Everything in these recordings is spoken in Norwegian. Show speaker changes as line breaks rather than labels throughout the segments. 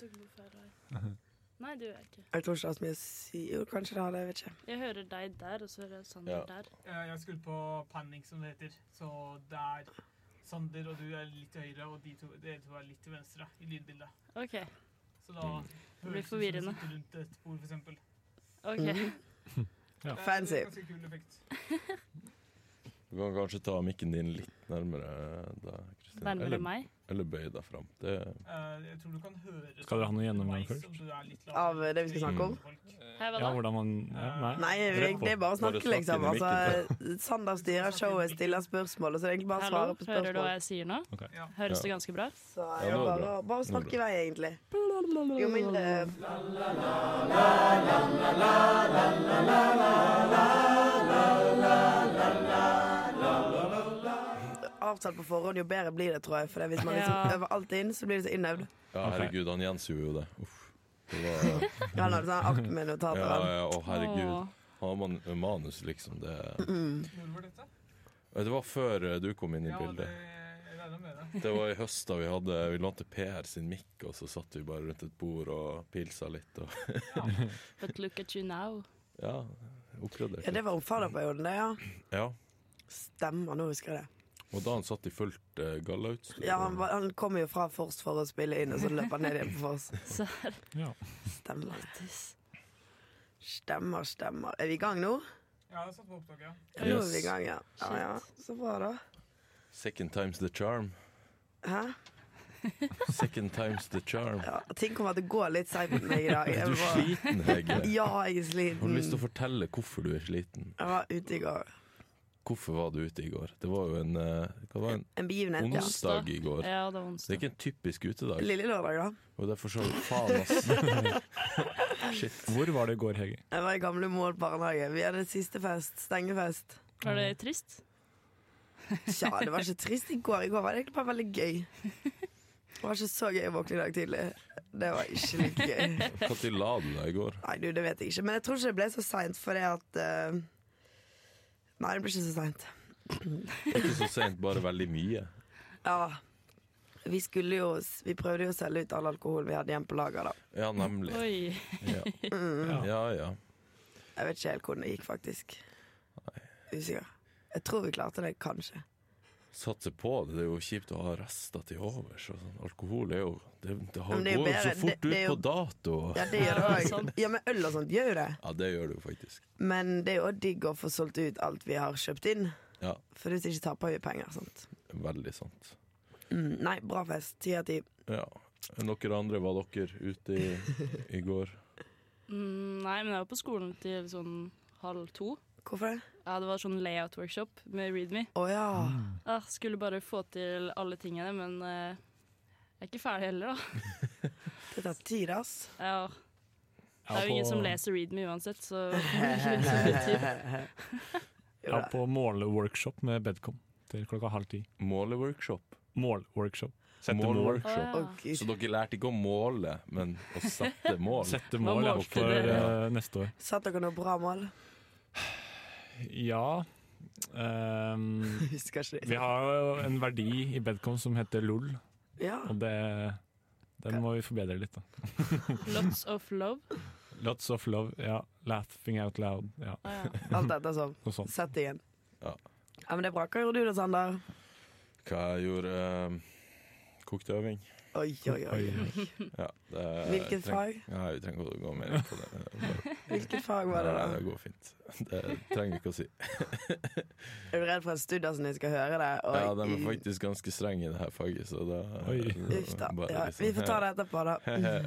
Tok noe feil vei.
Mhm.
Nei, det gjør jeg ikke.
Jeg tror ikke det har så mye å si. Jo, kanskje det har det, jeg vet ikke.
Jeg hører deg der, og så hører jeg Sander
Ja.
der.
Eh, Jeg skulle på Panic, som det heter. Så det er Sander og du er litt til høyre, og de to, dere to er litt til venstre i lydbildet.
OK.
Så da
Mm.
blir
høres det ut som
forvirrende.
du sitter rundt et bord, for eksempel.
ok.
Mm.
Eh,
Fancy.
Det er ganske kul effekt.
Du kan kanskje ta mikken din litt nærmere da, Kristin.
Nærmere
Eller,
meg.
eller bøy deg fram. Det
Eh, Jeg tror du kan høre
Skal dere ha noe gjennomgang
underveis
først?
om du er litt lavere.
Av det vi skal snakke om.
Folk.
Hei, hva
Ja,
da?
hvordan man ja, Nei.
Eh, Nei, jeg- det er bare å
Bare
snakke,
snakk
liksom.
inn i
Altså, Sander styrer showet, stiller spørsmål, og så er det egentlig bare å
Hallo,
svare på
hører du hva
spørsmål.
jeg sier nå?
Ok.
Ja.
Høres det ganske bra?
Så
Ja,
jeg
nå er det
bare, bare å snakke i vei, egentlig. Jo eh, mindre Avtalt på forhånd, jo bedre blir det, tror jeg. For hvis man liksom
Ja.
øver alt inn, så blir det så innøvd.
Ja, herregud, han Jens gjorde jo det. Uff. Det var
Han hadde sånn akt med
Ja,
notater.
ja,
han.
ja, å herregud.
Åh.
Han har man, manus, liksom. Det,
Når var dette?
det var før eh, du kom inn i
Ja, det,
bildet.
jeg regner med det.
Det var i høst da vi hadde Vi lånte Per sin mikk, og så satt vi bare rundt et bord og pilsa litt og
But look at you now.
Ja,
Ja,
oppgraderte.
det var om fadderperioden, det, ja.
Ja.
Stemmer, nå husker jeg det.
Og da han satt i fullt uh, gallautstyr.
Ja, han, var- han kom jo fra Fors for å spille inn, og så løp han ned igjen på Fors.
Serr.
Ja.
Stemmer. Stemmer, stemmer. Er vi i gang nå?
Ja, jeg satt på opptaket. ja.
Ja, Nå er vi i
Yes.
gang, ja. ja, ja. Så bra, da.
Second time's the charm.
Hæ?
Second time's the charm.
Ja, ting kommer til å gå litt seigt med meg i dag.
Er
Jeg
du
var,
sliten, Hege?
ja, jeg er
Har du
sliten.
lyst til å fortelle hvorfor du er sliten?
Jeg var ute i går.
Hvorfor var du ute i går? Det var jo en, eh, hva var det,
En
en
begivenhet, ja.
onsdag i går.
Ja, det var
Det er
onsdag.
ikke en typisk utedag.
Lille lørdag, da.
Og derfor så faen, ass.
eh,
Shit.
Hvor var det i går, Hege?
Jeg var i gamle Mål barnehage. Vi hadde siste fest. Stengefest.
Var det trist?
Tja, det var ikke trist i går. I går var det egentlig bare veldig gøy. Det var ikke så gøy å våkne i dag tidlig. Det var ikke like gøy.
Når la du deg i går?
Nei, du, det vet jeg ikke. Men jeg tror ikke det ble så seint fordi at eh, Nei, det ble ikke så seint.
Ikke så sent, bare veldig mye.
Ja. Vi skulle jo Vi prøvde jo å selge ut all alkohol vi hadde igjen på lager, da. Mm.
Ja, nemlig.
Oi.
Ja, ja. ja.
Jeg vet ikke helt hvordan det gikk, faktisk. Usikker. Jeg tror vi klarte det, kanskje.
Satse på det. Det er jo kjipt å ha rester til overs. og Sånn. Alkohol er jo Det, det har,
Men det er jo
går jo så
bedre-
fort
det- det er
ut på dato.
Ja, det gjør
Ja,
det
sånn.
òg. Ja, men øl og sånt gjør jo det.
Ja, det gjør det jo faktisk.
Men det er jo også digg å få solgt ut alt vi har kjøpt inn.
Ja,
For hvis ikke taper vi penger. Sant?
veldig sant.
Mm, nei, bra fest. Ti av ti.
Ja. Noen andre var dere ute i, i går?
Mm, nei, men jeg var på skolen til sånn halv to.
Hvorfor det?
Ja, det var sånn layout-workshop med ReadMe.
Å ja.
Mm.
Ah, skulle bare få til alle tingene, men eh, jeg er ikke ferdig heller, da.
Det tar tid, ass.
Ja, det er jo ingen som leser ReadMe uansett, så
jo
Jeg var
da.
på måleworkshop med Bedcom til klokka halv ti.
Måleworkshop.
Målworkshop. Sette mål.
Å, ja.
Målworkshop.
Å, Gud.
Så dere lærte ikke å måle, men å sette mål?
Sette
Hva
mål ja,
målte
for
dere?
eh, neste år.
Satt dere noe bra mål?
Ja ehm,
Husker ikke
Vi har jo en verdi i Bedcom som heter LOL,
Ja.
og det den må vi forbedre litt. da
Lots of love.
Lots of love, ja. Laughing out loud, ja.
Å, ja.
Alt dette sånn.
Noe sånt.
Settingen.
Ja.
ja, men det er bra. Hva gjorde du da, Sander?
Hva jeg gjorde eh, Kokte øving.
Oi, oi, oi.
Ja, det,
Hvilket fag?
Nei, vi trenger ikke å gå mer inn på det. Bare-
Hvilket fag var det,
Nei,
da?
det går fint. Det trenger vi ikke å si.
Er du redd for at studentene skal høre det? Og
Ja, de er faktisk ganske strenge i det her faget, så da liksom.
Oi.
Uff da. Ja, vi får ta det etterpå, da.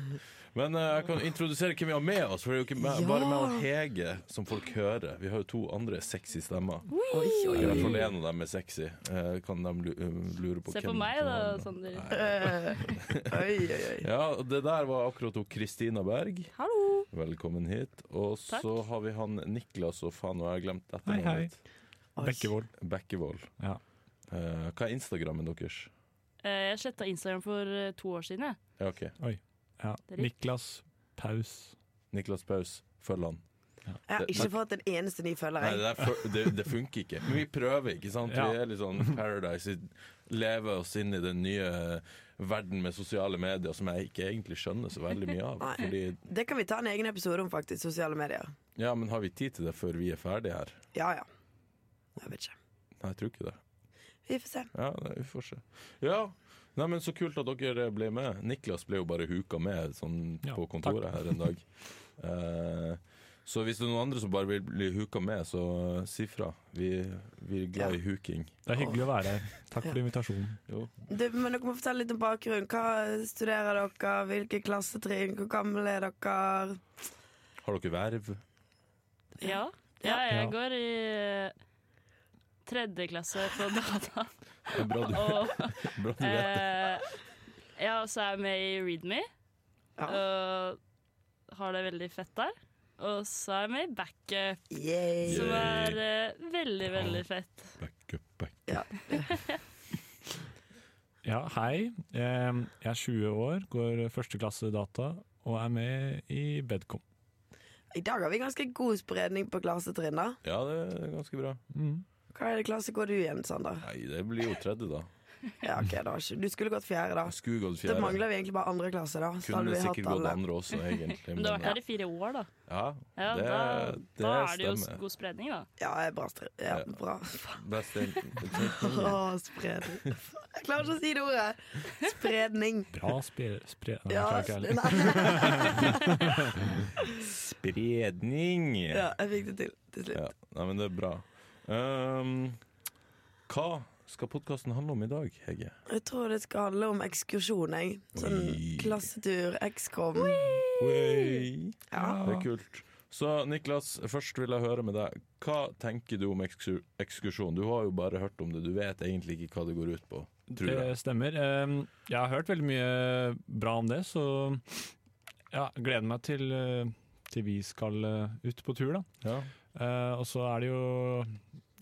Men eh, jeg kan introdusere hvem vi har med oss, for det er jo ikke meg,
Ja.
bare meg og Hege som folk hører. Vi har jo to andre sexy stemmer.
Oi, oi,
I hvert
oi.
fall én av dem er sexy. Eh, Kan de lu- lure på
Se på
hvem
meg
som
da,
har den?
Sander.
Eh, Oi, oi, oi.
Ja, og det der var akkurat hun Kristina Berg.
Hallo!
Velkommen hit. Og
Takk.
så har vi han Niklas og faen, nå har jeg glemt
Hei, hei.
etternavnet.
Bekkevold.
Bekkevold.
Ja.
Eh, hva er Instagrammen deres?
Eh, jeg sletta Instagram for eh, to år siden, jeg.
Ja, OK.
Ja.
Det er riktig.
Niklas Paus.
Niklas Paus, følg han.
Jeg har ikke fått en eneste ny følger.
Nei,
jeg.
det, der fu- det, det funker ikke. Men vi prøver, ikke sant?
Ja.
Vi er litt sånn Paradise. Vi lever oss inn i den nye verden med sosiale medier som jeg ikke egentlig skjønner så veldig mye av.
Nei.
Fordi,
Det kan vi ta en egen episode om, faktisk. Sosiale medier.
ja, men har vi tid til det før vi er ferdige her?
Ja ja. Jeg vet ikke.
Nei, jeg tror ikke det.
Vi får se.
Ja, nei, vi får se. Ja, nei, men så kult at dere ble med. Niklas ble jo bare huka med sånn
Ja,
på kontoret her en dag. Eh, så hvis det er noen andre som bare vil bli huka med, så eh, si fra. Vi, vi er glad i huking.
Det er hyggelig å være her. Takk for invitasjonen.
Du, men dere må fortelle litt om bakgrunnen. Hva studerer dere? Hvilke klassetrinn? Hvor gamle er dere?
Har dere verv?
Ja. ja, jeg
Ja.
går i eh, tredje klasse på data.
Det er Bra du,
Og
bra du vet det.
eh, ja, og så er jeg med i Readme
Ja.
og har det veldig fett der. Og så er jeg med i Backup,
Yay.
som
Yay.
er eh, veldig, veldig fett.
Back up, back.
Ja, hei. Em, Jeg er 20 år, går første klasse data og er med i Bedcom.
I dag har vi ganske god spredning på klassetrinn, da.
Ja, det er ganske bra.
Mm.
Hva er det klasse går du i igjen, Sander?
Nei, det blir jo tredje, da.
Ja, ok, da. Du skulle gått fjerde, da.
Jeg skulle gått
Da
fjerde.
mangler vi egentlig bare andre klasse, da. Så hadde
Kunne
vi hatt
sikkert gått
alle.
andre også, egentlig.
Men du har vært her i fire år, da.
ja,
Ja,
det,
da,
det
da er det jo
stemmer.
god spredning, da.
Ja, jeg er bra. stre- Ja,
Ja.
bra.
Det stemmer.
Å, spredning. Jeg klarer ikke å si det ordet. Spredning.
Bra spre... spre Nei,
Ja,
jeg klarer ikke heller.
nei.
Spredning!
ja, jeg fikk det til til slutt.
Ja, nei, men det er bra. Ehm, hva skal podkasten handle om i dag, Hege?
Jeg tror det skal handle om ekskursjon, jeg. Sånn
Oi.
klassetur, XCOM.
Oi.
Ja.
Det er kult. Så Niklas, først vil jeg høre med deg. Hva tenker du om ekskur- ekskursjon? Du har jo bare hørt om det, du vet egentlig ikke hva det går ut på. Tror jeg.
Det stemmer. Em, Jeg har hørt veldig mye bra om det, så ja, gleder meg til, eh, til vi skal eh, ut på tur, da.
Ja.
Eh, og så er det jo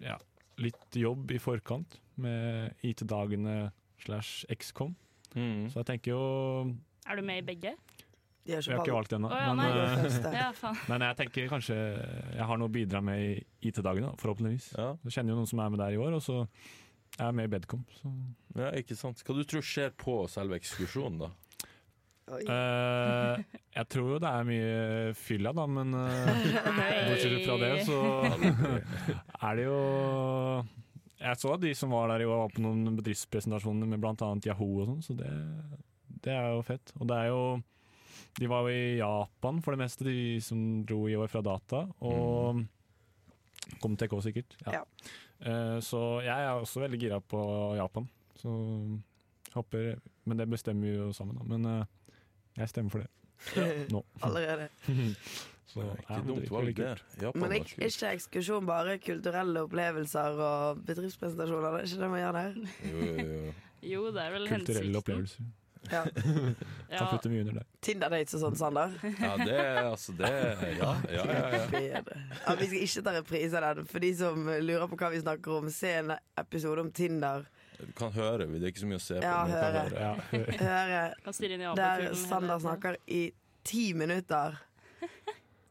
ja, litt jobb i forkant med IT-dagene slash XCOM.
Mm.
Så jeg tenker jo
Er du med i begge?
De har
Jeg har
ikke
ikke
valgt.
valgt ennå,
Å, ja,
men,
nei.
eh,
Første.
Ja, faen.
men jeg tenker kanskje jeg har noe å bidra med i IT-dagene, da, forhåpentligvis.
Ja.
Jeg kjenner jo noen som er med der i år, og så er jeg med i Bedcom. Så.
ja, ikke sant. Hva du tror skjer på selve ekskursjonen, da?
Oi.
Eh, jeg tror jo det er mye fylla, da, men eh, bortsett fra det, så er det jo Jeg så at de som var der i år, var på noen bedriftspresentasjoner med bl.a. Yahoo og sånn, så det, det er jo fett. Og det er jo De var jo i Japan for det meste, de som dro i år fra data, og
Mm.
kom til TK sikkert.
Ja.
Eh, så jeg er også veldig gira på Japan, så jeg håper Men det bestemmer vi jo sammen, da. Men eh, jeg stemmer for det. Nå.
Allerede.
Så,
Nei,
ja,
ikke
men
dumt
det virker veldig
valg, det.
kult.
Japan
Men
var
ikke,
kult.
ikke ekskursjon, bare kulturelle opplevelser og bedriftspresentasjoner. Det er ikke det man gjør der.
Jo, eh, jo, jo.
Jo, det er vel
Kulturelle
hensikten.
opplevelser.
Ja.
Ja.
Kan putte mye under det.
Tinder-dates og sånn, Sander.
Ja, det altså det Ja, ja, ja. ja.
Bedre. Ja, vi skal ikke ta reprise av den. For de som lurer på hva vi snakker om, se en episode om Tinder.
Du kan høre, det er ikke så møre å se på.
Ja,
men du
høre.
kan
Bare, ja.
Høre
Kan stirre inn i
der
abakulen
Sander
hele tiden.
snakker i ti minutter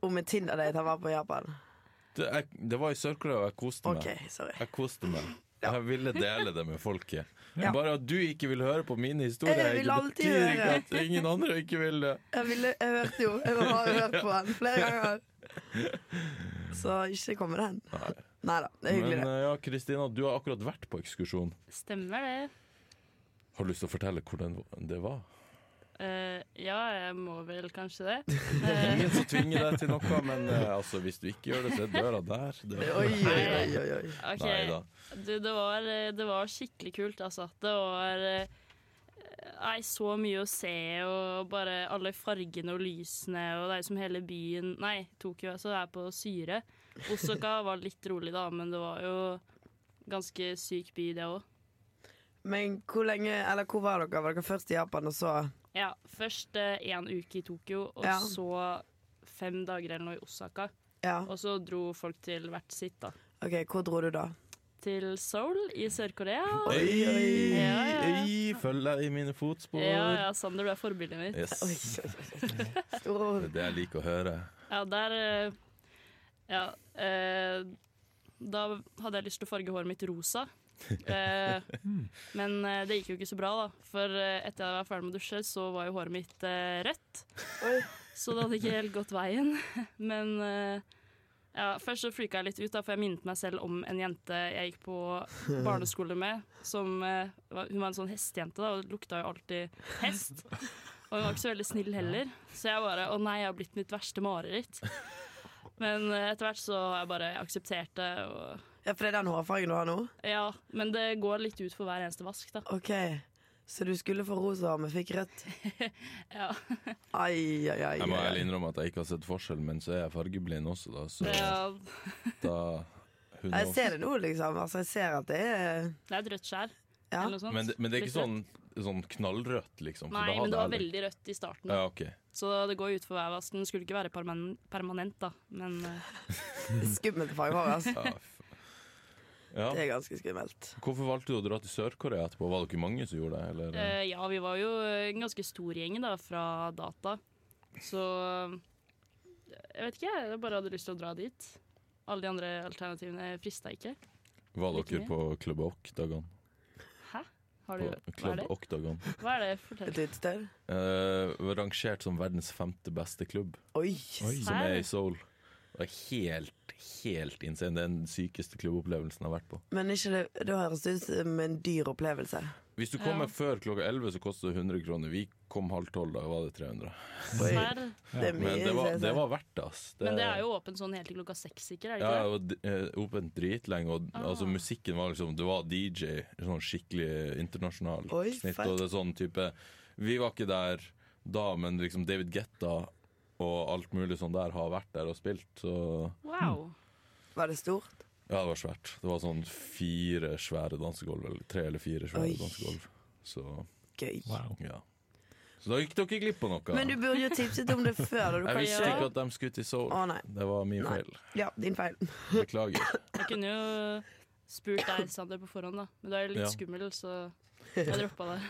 om en Tinder-date han var på i Japan.
Det, jeg, det var i Sør-Korea, og jeg koste meg.
OK, sorry.
Jeg koste meg.
Ja.
Jeg ville dele det med folket.
Ja.
Bare at du ikke vil høre på mine historier,
Jeg vil
Hege,
alltid
betyr ikke
høre.
at ingen andre ikke vil det.
Jeg, ville, jeg hørte jo. Jeg har hørt på han flere ganger. Så ikke kom med den.
Nei.
Nei da, det er hyggelig, det.
Men eh, ja, Kristina, du har akkurat vært på ekskursjon.
Stemmer det.
Har du lyst til å fortelle hvordan det var?
Eh, ja, jeg må vel kanskje det.
Eh.
Ingen som tvinger deg til noe, men eh, altså, hvis du ikke gjør det, så er døra der. Det-
Oi, oi, oi, oi, oi.
Ok,
Neida.
Du, det var, eh, det var skikkelig kult, altså. Det var eh, Nei, så mye å se, og bare alle fargene og lysene, og det er jo som hele byen Nei, Tokyo altså, er på syre. Osaka var litt rolig, da, men det var jo ganske syk by, det òg.
Men hvor lenge, eller hvor var dere? Var dere først i Japan, og så
Ja, først én uke i Tokyo, og
Ja.
så fem dager eller noe i Osaka.
Ja.
Og så dro folk til hvert sitt, da.
OK, hvor dro du da?
Til Seoul i Sør-Korea.
Oi,
Ja, ja.
oi, følg deg i mine fotspor.
Ja, ja, Sander, du er forbildet mitt.
Yes.
Oi, oi, oi. Store
Det er
ord.
det jeg liker å høre.
Ja, der eh, Ja, eh, da hadde jeg lyst til å farge håret mitt rosa. Eh, men eh, det gikk jo ikke så bra, da. For eh, etter jeg var ferdig med å dusje, så var jo håret mitt eh, rødt. Så det hadde ikke helt gått veien. Men eh, ja, først så freaka jeg litt ut, da, for jeg minnet meg selv om en jente jeg gikk på barneskole med. Som, eh, var, hun var en sånn hestejente, da, og lukta jo alltid hest. Og hun var ikke så veldig snill heller, så jeg bare Å nei, jeg har blitt mitt verste mareritt. Men eh, etter hvert så har jeg bare akseptert det. Og,
Ja, for det er den hårfargen du har nå?
ja, men det går litt ut for hver eneste vask, da.
OK. Så du skulle få rosa, men fikk rødt?
Ja,
Ai, ai, ai.
Jeg må ærlig
ai.
innrømme at jeg ikke har sett forskjell, men så er jeg fargeblind også, da. Så
det, er,
da hun
Jeg
også.
ser det nå, liksom. Altså, jeg ser at det er
det er et rødt skjær.
Ja.
Eller noe sånt.
Men det, men det er ikke
Litt
sånn, sånn knallrødt, liksom? for
Nei,
da hadde
men
jeg
det var
heller-
veldig rødt i starten.
Ja, ok.
Så det går ut for hver vask. Den skulle ikke være perman permanent, da. Men eh,
skummelt fargehår, altså.
Ja, f- ja.
Det er ganske skummelt.
Hvorfor valgte du å dra til Sør-Korea etterpå? Var det ikke mange som gjorde det? Eller?
eh, ja, vi var jo en ganske stor gjeng da, fra data. Så jeg vet ikke, jeg bare hadde lyst til å dra dit. Alle de andre alternativene frista ikke.
var
ikke
dere
mye.
på Club Ock-dagene?
Hæ? Har
På
du, hva er
Club
det?
Ock-dagene.
Hva er det? Fortell.
Et utested?
Eh, var rangert som verdens femte beste klubb,
Oi.
Oi.
som
Hæ?
er i Seoul. Det er helt, helt insane. Det er den sykeste klubbopplevelsen jeg har vært på.
Men ikke det, det høres ut som en dyr opplevelse.
Hvis du kommer
Ja.
før klokka 11, så koster det 100 kroner. Vi kom halv tolv, da var det 300.
Oi.
Serr?
Det er mye.
Men det var,
synes
det
jeg.
var verdt det, ass. Det-
Men det er jo åpent sånn helt til klokka seks, sikkert? Er det
Ja, det
ikke det?
var d- eh, åpent dritlenge, og
Ah.
altså, musikken var liksom Det var DJ, sånn skikkelig internasjonal
Oi,
snitt,
fett.
og det er sånn type Vi var ikke der da, men liksom David Getta og alt mulig sånn der har vært der og spilt, så
Wow.
Var det stort?
Ja, det var svært. Det var sånn fire svære dansegulv, eller tre eller fire svære
Oi.
dansegulv, så
Gøy.
Wow.
ja. Så da gikk dere glipp av noe.
Men du burde jo tipset om det før. Da du
Jeg
kan
visste
gjøre-
ikke at de skulle til Seoul.
Å nei.
Det var min
Nei.
feil.
Ja, din feil.
Beklager.
Jeg kunne jo spurt deg, Sander, på forhånd, da. Men du er jo litt
Ja.
skummel, så jeg droppa det.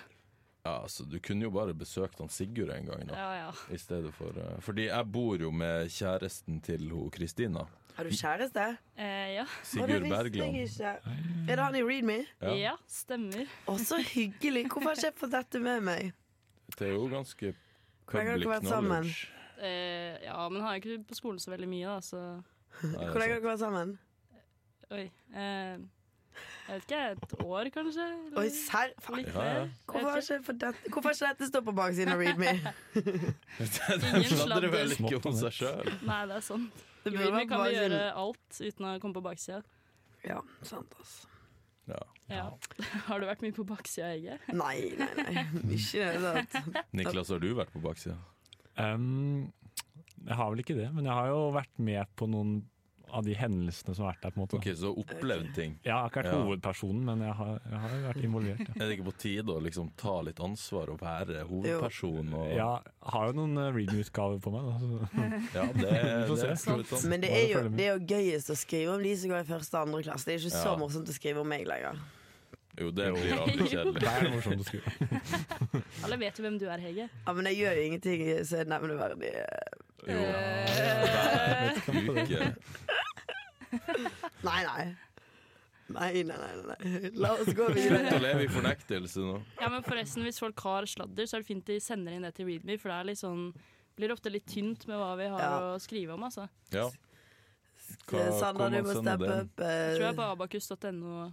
Ja, altså, du kunne jo bare besøkt han Sigurd en gang, da.
Ja, ja.
I stedet for eh, Fordi jeg bor jo med kjæresten til ho Kristina.
Har du kjæreste?
Eh, ja.
Å, det
Sigurd
visste
Bergland.
jeg ikke. Er det han i Read Me?
Ja.
ja, stemmer.
Å, så hyggelig. Hvorfor har ikke jeg fått dette med meg?
Det er jo ganske
Hvordan har
public
dere vært sammen?
knowledge.
Eh, ja, men han er ikke på skolen så veldig mye, da, så
Nei,
Hvordan har
altså,
dere vært sammen?
Oi. Eh, jeg vet ikke, et år, kanskje? Eller
Oi, serr? Faen.
Litt
Ja, ja.
mer.
Hvorfor har ikke
Jeg vet ikke.
jeg fått dette Hvorfor har ikke dette stått på baksiden av Read Me?
De sladrer vel ikke om seg sjøl.
Nei, det er sant.
Det
Jo,
burde
vi
vært
kan vi
baksiden.
gjøre alt uten å komme på baksida.
Ja, sant, altså.
Ja.
Ja. Har du vært mye på baksida, Hege?
Nei, nei, nei. Ikke i det hele tatt.
Niklas, har du vært på baksida?
Um, jeg har vel ikke det, men jeg har jo vært med på noen av de hendelsene som har vært der. på en måte.
OK, så opplevd ting.
Jeg har ikke vært
Ja.
hovedpersonen, men jeg har, jeg har jo vært involvert. Ja.
Er det ikke på tide å liksom ta litt ansvar og være hovedperson? Og,
Jeg har jo noen eh, readme-utgaver på meg. Da, så.
Ja, det,
Vi får
det
se.
er absolutt sånn.
Men det
Bare
er, jo,
følg med.
det er jo gøyest å skrive om de som går i første og andre klasse. Det er ikke så
Ja.
morsomt å skrive om meg lenger.
Jo, det blir aldri
Det
kjedelig.
er morsomt å skrive.
Alle vet jo hvem du er, Hege.
Ja, Men jeg gjør jo ingenting som er nevneverdig.
Jo,
Eh,
uke.
Nei, nei. Nei, nei, nei. nei. La oss gå
Slutt
videre.
å leve i fornektelse nå.
Ja, men forresten, Hvis folk har sladder, så er det fint de sender inn det til Readme. For det er litt sånn, blir ofte litt tynt med hva vi har
Ja.
å skrive om. altså.
Ja.
Eh, Sandra, du må steppe
den?
opp.
Jeg tror
eh,
jeg på abakus.no.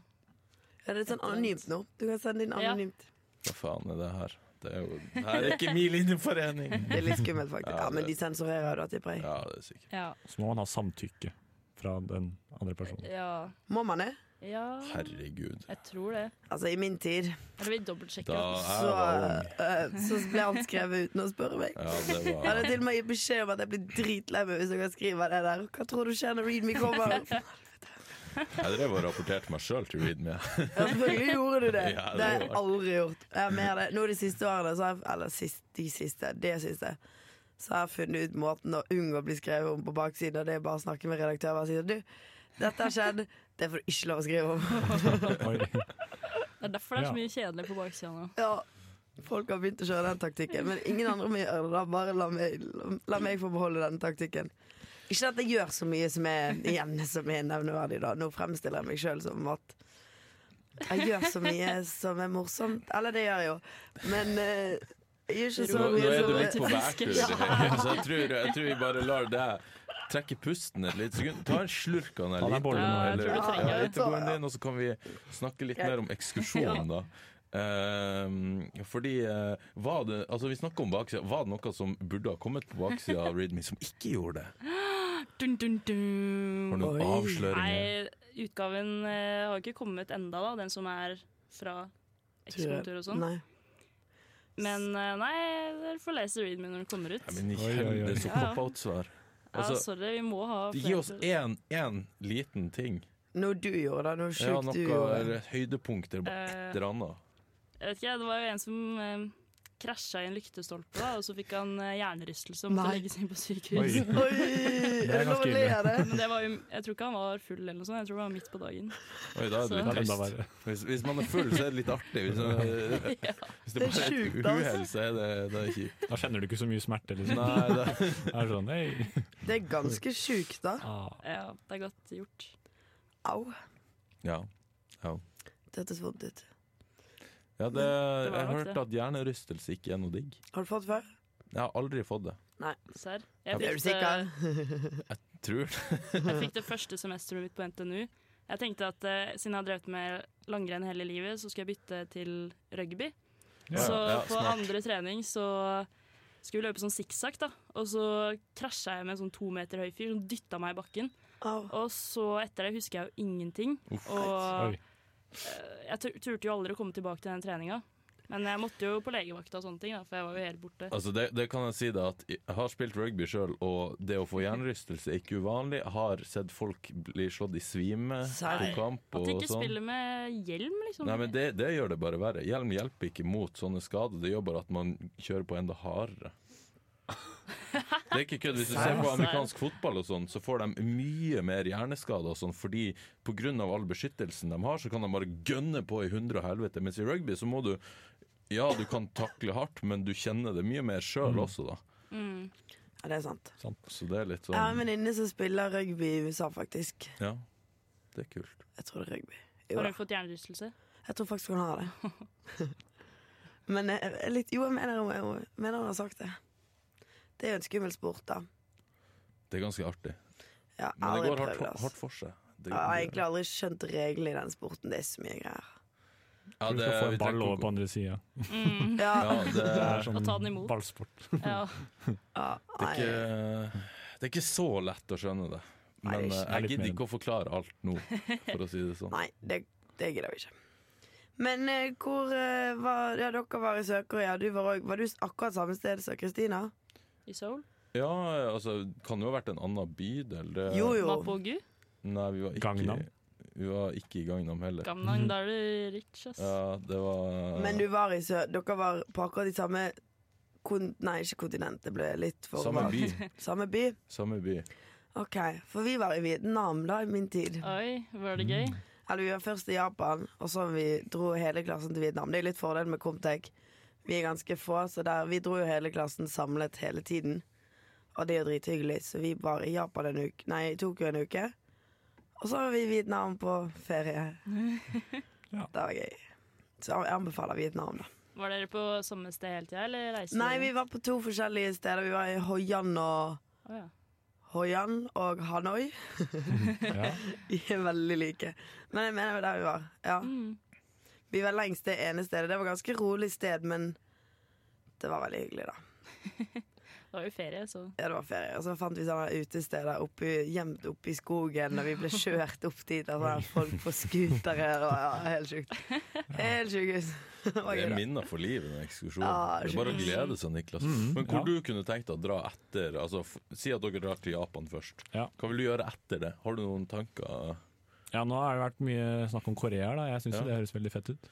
Ja, det er sånn anonymt nå. Du kan sende inn
Ja.
anonymt.
Hva faen er det her? Det er jo Det her er ikke min linjeforening!
Det er litt skummelt, faktisk.
Ja,
Ja, Men
det-
de sensurerer jo det til preg.
Ja, det er sikkert.
Ja.
Så må man ha samtykke fra den andre personen.
ja.
Må man det?
Ja,
Herregud.
jeg tror det.
Altså, i min tid
Eller vi dobbeltsjekker.
Da
oss.
jeg
så,
var ung.
eh, så ble han skrevet uten å spørre meg.
Ja, det
Jeg hadde
var
til og med gitt beskjed om at jeg blir dritlei meg hvis dere skriver det der. Hva tror du skjer når Read Me kommer?
Jeg drev og rapporterte meg sjøl til Readme.
Ja, selvfølgelig gjorde du det.
Ja, det
det har jeg
gjorde jeg. aldri
aldri gjort. Jeg har mer det. Nå de siste årene, så har jeg, eller sist, de siste, det siste, så har jeg funnet ut måten å unngå å bli skrevet om på baksiden, og det er bare å snakke med redaktøren og si du, dette har skjedd, det får du ikke lov å skrive om.
Oi.
Det er derfor det er
Ja.
så mye kjedelig på baksida nå.
Ja, folk har begynt å kjøre den taktikken, men ingen andre må gjøre det. da. Bare la meg, la meg få beholde den taktikken. Ikke at jeg gjør så mye som er igjen som er nevneverdig, da. Nå fremstiller jeg meg sjøl som at jeg gjør så mye som er morsomt. Eller det gjør jeg jo, men eh, jeg gjør ikke
Nå,
så
nå
mye
er du
som
litt på bærtur, i det hele, så jeg tror, jeg tror vi bare lar deg trekke pusten et lite sekund. Ta en slurk av den
Ta deg en bolle nå, Ja, jeg
eliten, eller-
tror du trenger
ja,
det.
elitegoen din, og så kan vi snakke litt mer om ekskursjonen, da. Ehm, fordi eh, var det, altså Vi snakker om baksida. Var det noe som burde ha kommet på baksida av Readme, som ikke gjorde det?
Dun, dun,
Har du
dun.
noen
Oi.
avsløringer?
Nei, utgaven eh, har ikke kommet enda da, den som er fra Ekskontur og sånn.
Nei.
Men eh, nei, dere får lese readme når den kommer ut.
Nei, men
Oi, oi, oi.
kjenn det som
Ja, ja.
pop-out-svar.
ja,
Altså,
sorry, vi må ha
gi oss
flere.
én, én liten ting.
Noe du gjorde, da. Noe
Ja,
sjukt
noe
du gjorde.
eller et høydepunkt eller bare
Eh,
et eller annet.
Jeg vet ikke, det var jo en som eh, krasja i en lyktestolpe, da, og så fikk han eh, hjernerystelse og
Nei.
måtte legges inn på sykehus.
Oi.
Oi! Er det lov å le
ganske ille.
av det?
Men det var jo, jeg tror ikke han var full eller noe sånt, jeg tror det var midt på dagen.
Oi, da er
så-
Det
det
er
litt
enda
trist.
verre.
Hvis, hvis man er full, så er det litt artig. Hvis, man- hvis det
Det er
bare er et
sjukt, altså.
uhell, så er det, det er kjipt.
Da kjenner du ikke så mye smerte, liksom.
Nei, det,
Det er sånn, hei.
Det er ganske sjukt, da.
Ah.
Ja, det er godt gjort.
Au.
ja.
Det hørtes vondt ut.
ja det,
nok
jeg
Mm, det.
hørte at hjernerystelse ikke er noe digg.
Har du fått før?
Jeg har aldri fått det.
Serr. Jeg,
Er du
fikk eh, det-
sikker?
Tror det.
jeg fikk det første semesteret mitt på NTNU. Jeg tenkte at eh, siden jeg har drevet med langrenn hele livet, så skulle jeg bytte til rugby.
Ja,
så
ja,
på
smart.
andre trening så skulle vi løpe sånn sikksakk, da. Og så krasja jeg med en sånn to meter høy fyr som dytta meg i bakken.
Au.
Og så etter det husker jeg jo ingenting.
Uff.
Og
Oi.
eh, jeg tur- turte jo aldri å komme tilbake til den treninga. Men jeg måtte jo på legevakta og sånne ting, da, for jeg var jo helt borte.
Altså det, det kan jeg si da at Jeg har spilt rugby sjøl, og det å få hjernerystelse er ikke uvanlig. Jeg har sett folk bli slått i svime på
Serr?
kamp
At
og
du ikke
sånn.
spiller med hjelm, liksom.
Nei, men det, det gjør det bare verre. Hjelm hjelper ikke mot sånne skader. Det gjør bare at man kjører på enda hardere. Det er ikke kødd. Hvis du ser
altså.
på amerikansk fotball, og sånn, så får de mye mer hjerneskader og sånn, fordi pga. all beskyttelsen de har, så kan de bare gønne på i hundre og helvete. Mens i rugby så må du Ja, du kan takle hardt, men du kjenner det mye mer sjøl også, da.
Mm.
Ja, det er sant.
Så det er litt
Jeg har en
sånn
venninne som spiller rugby i USA, faktisk.
Ja, det er kult.
Jeg tror det er rugby. Jo
Har
da.
du fått hjernerystelse?
Jeg tror faktisk hun har det. Men eh, jeg er litt, jo, jeg mener, hun- jeg mener hun har sagt det. Det er jo en skummel sport, da.
Det er ganske artig.
Ja, jeg har
Men det
aldri
går
prøvd
hardt,
det.
for-
Altså.
hardt for seg. Det-
Jeg har egentlig aldri skjønt reglene i den sporten. Det er så mye greier.
Ja,
Du
det,
skal få
vi
en ball
trenger
over
ikke
på andre sida.
Mm.
Ja,
å- Ja, det
Det
er
er
Og ta
sånn
den imot.
ballsport.
Ja.
ja,
Det
nei.
er, ikke, det er ikke så lett å skjønne det.
Nei,
Men
det er
eh,
ikke-
jeg
Det er
gidder
litt
ikke å forklare alt nå, for å si det sånn.
nei det, det gidder vi ikke. Men eh, hvor eh, var Ja, dere var i Sør-Korea. Du var, også- var du akkurat samme sted som Kristina?
I Seoul.
Ja, altså, kan jo ha vært en annen bydel. Det,
Jo, jo.
Mapogu.
Nei, vi var ikke,
Gangnam?
Vi var ikke i Gangnam heller.
Gamnang, da er du rich, ass.
Ja, det var
Men du var i Sør... Dere var på akkurat de samme kon Nei, ikke kontinent. Det ble litt for
Samme by.
Samme by?
Samme by.
OK. For vi var i Vietnam da, i min tid.
Oi, var det gøy?
Eller vi var først i Japan, og så vi dro hele klassen til Vietnam. Det er jo litt fordel med Comtec. Vi er ganske få, så der, vi dro jo hele klassen samlet hele tiden. Og det er jo drithyggelig, så vi var i Japan en uke Nei, i Tokyo en uke. Og så var vi i Vietnam på ferie.
Ja.
Det var gøy. Så jeg anbefaler Vietnam, da.
Var dere på samme sted hele tida, eller reiste
Nei, vi
dere?
var på to forskjellige steder. Vi var i Hoi An og
Å, ja.
Hoi An og Hanoi.
Ja.
De er veldig like. Men jeg mener jo der vi var. Ja.
Mm.
Vi var lengst det ene stedet. Det var ganske rolig sted, men det var veldig hyggelig, da.
Det var jo ferie, så
Ja, det var ferie. Og så fant vi sånne utesteder oppi, gjemt oppe i skogen, og vi ble kjørt opp dit av sånne folk på scootere. og Ja, helt sjukt. Helt sjukehus. Det var
Det
gøy,
er
da.
minner for livet, den ekskursjonen.
Ja,
det er bare å
skikkelig.
glede seg, Niklas.
Mhm,
Men hvor
ja.
du kunne tenkt deg å dra etter altså, f Si at dere drar til Japan først.
Ja.
Hva vil du gjøre etter det? Har du noen tanker?
Ja, nå har det vært mye snakk om Korea her, da. Jeg syns
Ja.
jo det høres veldig fett ut.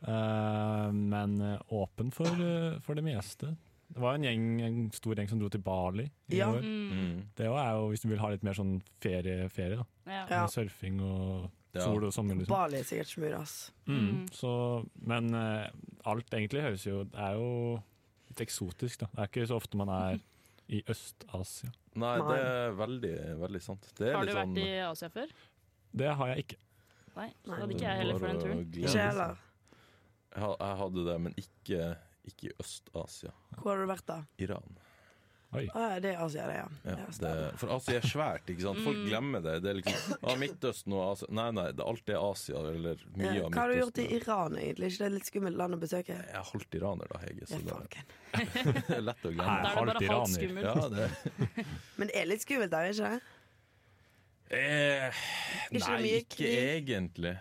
Eh, men eh, åpen for, eh, for det meste. Det var en, gjeng, en stor gjeng som dro til Bali i
Ja.
år.
mm.
Mm.
Det også er jo hvis du vil ha litt mer sånn ferie, ferie da.
ja.
Ja.
Med Surfing og
Ja.
sol og sommer, liksom.
Bali er sikkert smooth, ass.
Mm. Så, men eh, alt egentlig høres jo Det er jo litt eksotisk, da. Det er ikke så ofte man er i Øst-Asia.
Nei,
Nei.
det er veldig, veldig sant. Det er
Har du
litt sånn
vært i Asia før?
Det har jeg ikke.
Nei, så
Nei.
hadde ikke jeg heller for den
Bare
turen.
å glede
Ikke
seg.
heller.
Jeg ha- Jeg hadde det, men ikke, ikke i Øst-Asia.
Hvor har du vært da?
Iran.
Å ja, det er Asia, det, ja.
Ja,
Ja,
det,
stemmer.
for Asia er svært, ikke sant?
Mm.
Folk glemmer det. Det er liksom ah, Midtøsten og Asia Nei, nei, det, alt er Asia, eller
Ja,
mye av Midtøsten.
Eh, Hva har du gjort i Iran, egentlig? Ikke det er et litt skummelt land å besøke?
Jeg er halvt iraner, da, Hege,
Ja,
så det
fanken.
er lett
Nei.
å glemme.
Da er det
Halvt
bare halvt
iraner.
skummelt.
Ja, det
Men det er litt skummelt der, ikke det?
eh,
det
Nei,
mye
ikke
krig?
egentlig.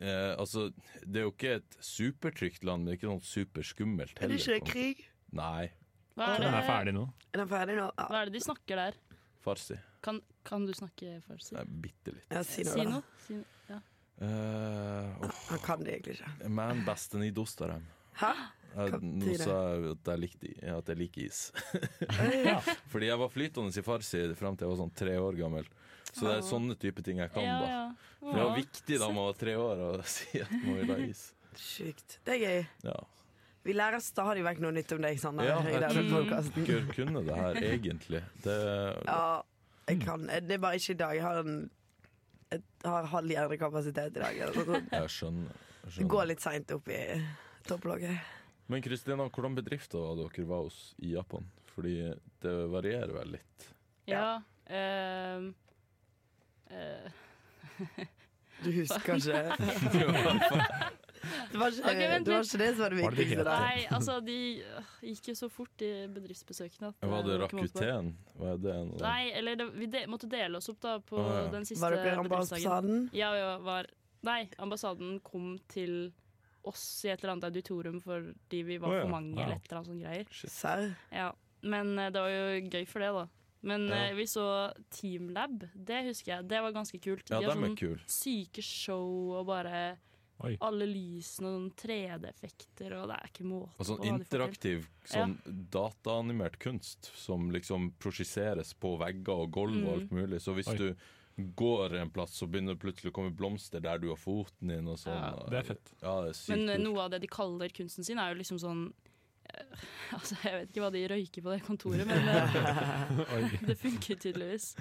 Eh, altså, det er jo ikke et supertrygt land, men det er ikke noe superskummelt
Er
heller.
det ikke
på en
det krig?
måte. Nei.
Hva
Den
er
er
det,
ferdig nå.
Er den ferdig nå? Ja,
hva er det de snakker der?
Farsi.
Kan, kan du snakke først? Si?
Nei, bitte litt.
ja si
Si
noe, da.
noe. Si noe. Ja.
Eh, oh,
Han kan det egentlig ikke.
man besten i Dostarheim.
Hæ?
Jeg,
Hva
Eh, nå
betyr det?
sa jeg at jeg, likte, at jeg liker is.
Ja.
Fordi jeg var flytende i farsi frem til jeg var sånn tre år gammel. Så det er sånne type ting jeg kan,
Ja,
da.
ja.
Det var
Ja.
viktig da man var tre år å si at man vil ha is.
Sjukt. Det er gøy.
Ja.
Vi lærer stadig vekk noe nytt om deg, Sander.
Ja,
i
jeg
denne
tror-
podcasten.
Bør kunne det her, egentlig. Det,
Ja, jeg kan Det er bare ikke i dag. Jeg har, en, jeg har halv hjernekapasitet i dag. eller noe sånt.
jeg skjønner. jeg
Det
skjønner.
går litt seint opp i topplogget.
Men Kristina, hvordan bedrifter var dere var hos i Japan? Fordi det varierer vel litt.
Ja. ehm, eh,
Du husker ikke Det var ikke,
Ok, vent
det, var ikke det som var det
Var det det
viktigste der.
nei, altså, de øh, gikk jo så fort, de bedriftsbesøkene. at eh,
Var det
ikke måte på.
Rakuten? Var det en
Nei, eller det, vi de, måtte dele oss opp da på
Å, ja.
den siste
Var dere i
bedriftsdagen.
ambassaden?
Ja, ja, var Nei, ambassaden kom til oss i et eller annet auditorium fordi vi var
Å, ja.
for mange,
Wow.
eller et eller annet sånt greier.
Serr?
Ja. Men eh, det var jo gøy for det, da. Men
Ja.
eh, vi så Teamlab, det husker jeg. Det var ganske kult.
Ja,
De har
dem er
sånn
kule.
syke show og bare
Oi.
alle lysene og sånn 3D-effekter, og det er ikke måte
Og sånn
hva de får til.
interaktiv sånn dataanimert kunst som liksom prosjiseres på vegger og gulv
Mm.
og alt mulig. Så hvis
Oi.
du går en plass, så begynner det plutselig å komme blomster der du har foten din og sånn.
Ja.
Det er fett.
Ja, det er sykt
Men eh,
kult.
noe av det de kaller kunsten sin, er jo liksom sånn eh, Altså, jeg vet ikke hva de røyker på det kontoret, men eh, det funker tydeligvis.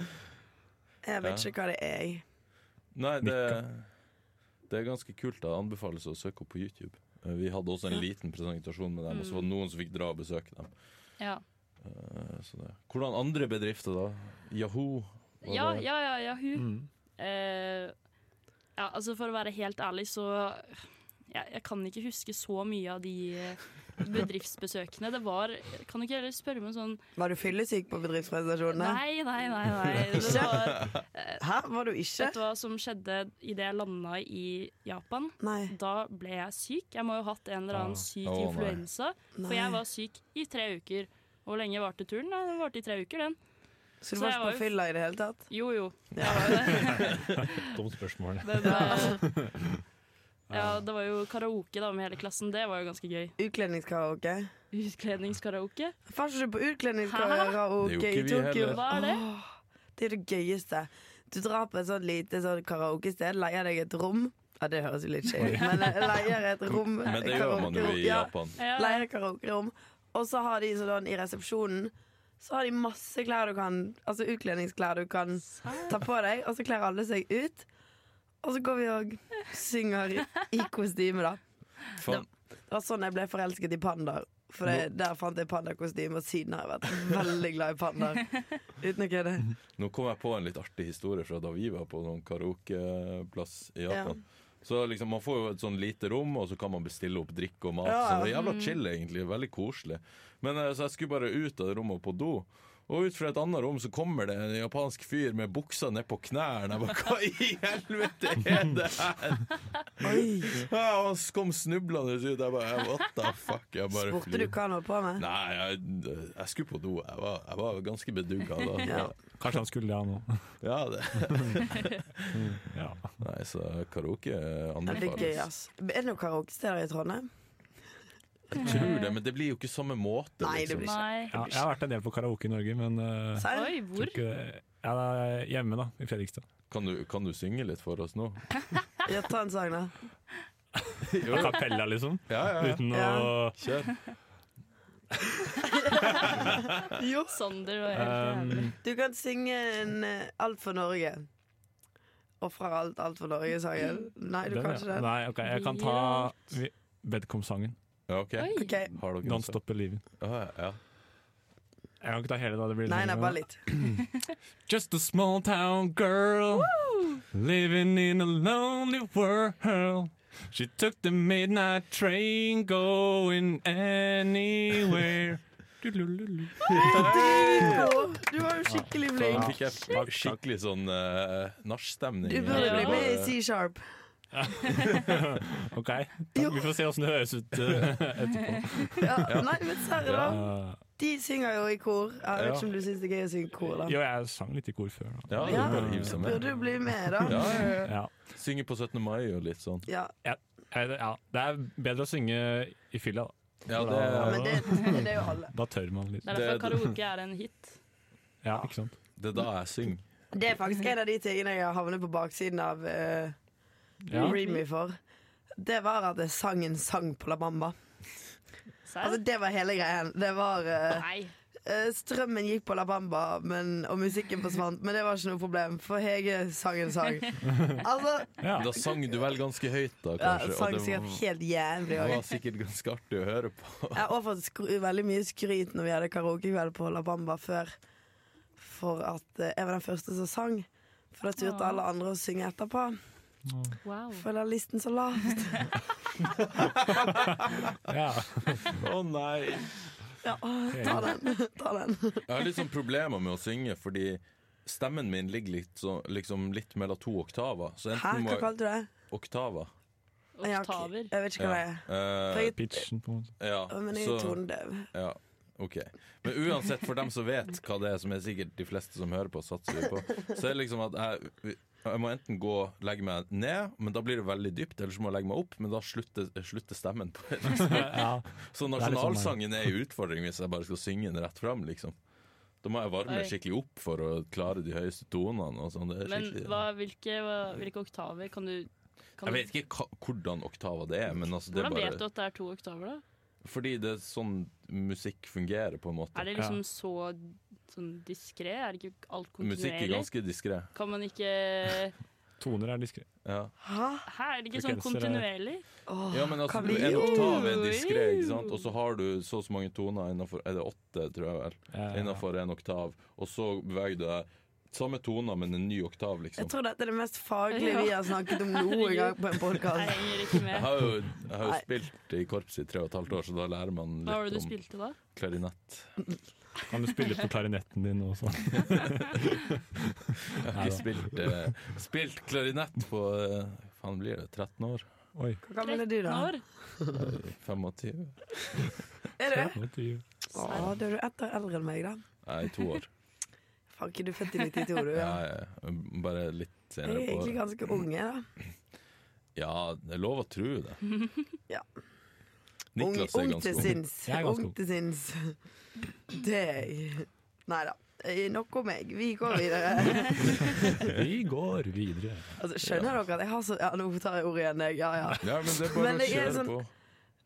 Jeg vet
Ja.
ikke hva det er. jeg.
Nei, det, det er ganske kult. da. Det anbefales å søke opp på YouTube. Eh, Vi hadde også en liten presentasjon med dem, og så var det noen som fikk dra og besøke dem.
Mm. Ja.
Eh, Så det. Hvordan andre bedrifter, da? Yahoo? var
Ja,
det-
ja, ja, ja, hun.
Mm.
Eh, ja, altså for å være helt ærlig, så jeg, jeg kan ikke huske så mye av de eh, bedriftsbesøkene. Det var Kan du ikke heller spørre meg om sånn
Var du fyllesyk på bedriftspresentasjonene?
Nei, nei, nei. nei. Det var,
Hæ, var du ikke?
Eh, vet du hva som skjedde idet jeg landa i Japan?
Nei.
Da ble jeg syk. Jeg må jo ha hatt en eller annen
Ah.
syk
Å, nei.
influensa. For
Nei.
jeg var syk i tre uker. Hvor lenge varte turen? Nei, Den varte i tre uker, den.
Så du
så
var
jeg
ikke
var jo-
på fylla i det hele tatt?
Jo jo.
Ja.
Dumt spørsmål.
Men, eh, ja, det var jo karaoke da med hele klassen. Det var jo ganske gøy.
Utkledningskaraoke?
Utkledningskaraoke.
Fant ikke du på
Det er
utkledningskaraoke
jo
i
ikke vi
Tokyo?
heller.
Hva er det?
Åh, det er det gøyeste. Du drar på et sånt lite sånn karaokested, leier deg et rom. Ja, det høres jo litt skjevt ut, men eh, leier et rom.
Men det gjør man jo i
karaokerom. Ja,
Japan.
Ja.
leier et karaokerom. Og så har de sånn i resepsjonen så har de masse klær du kan Altså utkledningsklær du kan ta på deg, og så kler alle seg ut. Og så går vi og synger i kostyme, da.
Faen,
Det var sånn jeg ble forelsket i pandaer. For det, der fant jeg pandakostyme, og siden har jeg vært veldig glad i pandaer. Uten å kødde.
Nå kom jeg på en litt artig historie fra da vi var på noen karaokeplass i Japan. Så liksom Man får jo et sånn lite rom, og så kan man bestille opp drikke og mat.
Ja. Mm.
Så det er Jævla chill, egentlig. Veldig koselig. Men eh, så jeg skulle bare ut av det rommet og på do. Og ut fra et annet rom så kommer det en japansk fyr med buksa ned på knærne. Jeg bare, Hva i helvete er det her?!
Oi,
Ja, og han kom snublende ut. Jeg bare What the fuck? Jeg bare
Spurte du
flyr.
hva han holdt på med?
Nei, jeg, jeg skulle på do. Jeg var, jeg var ganske bedugga da.
Ja.
Kanskje han skulle det, han òg.
ja, det
Ja.
Nei, så karaoke
Ja, Det er gøy, altså.
anbefales.
ass. eh, Er det noen karaokesteder i Trondheim?
Jeg tror det, men det blir jo ikke samme måte.
Nei, det blir ikke.
Nei.
Ja, jeg har vært en del på karaoke i Norge, men eh,
Serr?
Oi,
tror
hvor?
ikke, ja, det er hjemme, da. I Fredrikstad.
Kan, du, kan du synge litt for oss nå?
Ja, ta en sang, da.
A cappella, liksom.
Ja, ja, ja.
Uten å
Ja.
Kjør.
Jo,
Sander var
Ehm.
helt jævlig.
Um,
du kan synge en eh, Alt for Norge. Og fra alt, alt for Norge-sangen. Nei, du
den,
kan ikke
ja.
den.
Nei, ok, jeg kan ta vi- Vedkom-sangen.
Ja, OK.
Oi.
Ok,
Har dere
Don't Stop Believing.
Ja, ja.
Jeg kan ikke ta hele, da. Det blir
Nei, nei,
lenge.
bare litt.
Just a small town girl living in a lonely world. She took the midnight train going anywhere. Du-lu-lu-lu.
Dritgod! Du var jo skikkelig
Nå
flink.
fikk jeg skikkelig sånn uh, nachstemning.
Du burde
Ja.
bli med i C-sharp.
OK, da, vi får se åssen det høres ut eh, etterpå.
Ja. Nei, men serr, da.
Eh,
De synger jo i kor. Jeg
Ja.
vet ikke om du syns det er gøy å synge i kor, da.
jo, jeg sang litt i kor før. Da.
Ja, du
Ja.
bare hive seg med.
Burde du bli med, da?
Ja, ja, ja.
Ja.
Synge på 17. mai og litt sånn.
Ja.
Eh, det- ja. Det er bedre å synge i fylla, da.
Ja, det,
Ja, Men det, det er jo alle.
Da tør man litt.
Det er derfor
Det-
karaoke er en hit.
Ja, ikke sant?
det er da jeg synger.
Det er faktisk en av de tingene jeg har havnet på baksiden av eh,
Ja.
Read Me for. Det var at jeg sang en sang på La Bamba. Altså,
Serr?
det var hele greien. Det var eh,
Nei.
eh, Strømmen gikk på La Bamba, men, og musikken forsvant, men det var ikke noe problem, for Hege sang en sang. Altså,
Ja.
Da sang du vel ganske høyt,
ja,
da, kanskje.
sang
og det
sikkert helt jævlig
var,
òg.
var sikkert ganske artig å høre på.
Jeg har fått skru- veldig mye skryt når vi hadde karaokekveld på La Bamba før. For at eh, jeg var den første som sang. For da turte
Ja.
alle andre å synge etterpå.
Wow.
Føler listen så lavt.
Ja.
Å nei!
Ja, ta den. Ta den.
Jeg har litt sånn problemer med å synge, fordi stemmen min ligger litt, så, liksom litt mellom to oktaver. Så
Hæ,
enten
hva
må jeg
kalte du det?
Oktaver.
Jeg, har
Oktaver.
ikke- jeg vet ikke hva det er.
Eh,
For jeg,
Pitchen, på en måte.
ja,
men jeg
så-
er tonedøv.
Ja, ok Men uansett, for dem som vet hva det er Som er sikkert de fleste som hører på satser vi på Så er det liksom at jeg, jeg må enten gå og legge meg ned Men da blir det veldig dypt Eller så må jeg legge meg opp Men da slutter, slutter stemmen på det.
Ja. Det er litt
Så
sånn,
nasjonalsangen er en utfordring Hvis jeg bare skal synge den rett frem liksom. Da må jeg varme
Oi.
skikkelig opp For å klare de høyeste tonene og sånn. Det er
Men
skikkelig-
hva, hvilke, hva, hvilke oktaver kan du kan
Jeg
du-
vet ikke hva, hvordan oktava det er, men altså det er
Hvordan vet du
bare,
at det er to oktaver, da?
fordi det er sånn musikk fungerer på en måte.
Er det liksom så sånn diskré? Er det ikke alt
Musikk er
kontinuerlig?
ganske diskret.
Kan man ikke
Toner er diskré.
Ja.
Hæ?
Hæ, er det ikke sånn
Frekvenser er-
kontinuerlig?
Åh,
Ja, men altså,
kan vi-
en oktav er
Oi.
diskré, ikke sant? Og så har du så og så mange toner innenfor Er det åtte, tror jeg vel?
Eh,
Innenfor en oktav. Og så beveger du deg samme toner, men en ny oktav,
Jeg
liksom.
tror dette er det mest faglige vi har snakket om noen
Herregud.
gang på en
Jeg
podkast.
henger ikke
Jeg
med.
har jo, jeg har jo
Nei.
spilt i korps i tre og et halvt år, så da lærer man
Hva var
litt
det du
om
spilte da?
klarinett.
Kan du spille på klarinetten din også?
Jeg har ikke spilt, eh, spilt klarinett på eh, faen blir det 13 år? Eh,
Oi.
Hva gammel er du, da?
13 år?
25?
Er du?
nå tyver.
Å, da er du ett år eldre enn meg, da.
Nei, to år.
Fanken, du er født i 92, du.
Ja,
Ja.
ja. Bare litt
Jeg er
senere på
egentlig
året.
ganske ung, jeg, da.
Ja, det er lov å tro det.
Ja.
Niklas
ung, ung
er
til
ganske ung.
sinns.
Jeg er ganske
Ung
ung.
til sinns. Det er jeg. Nei da. Eh, Nok om meg. Vi går videre.
Vi går videre.
Altså, skjønner dere at jeg har så Ja, nå tar jeg ordet igjen, jeg. Ja, ja.
Ja, men det er bare
Men
å
det er
kjøre
sånn-
på.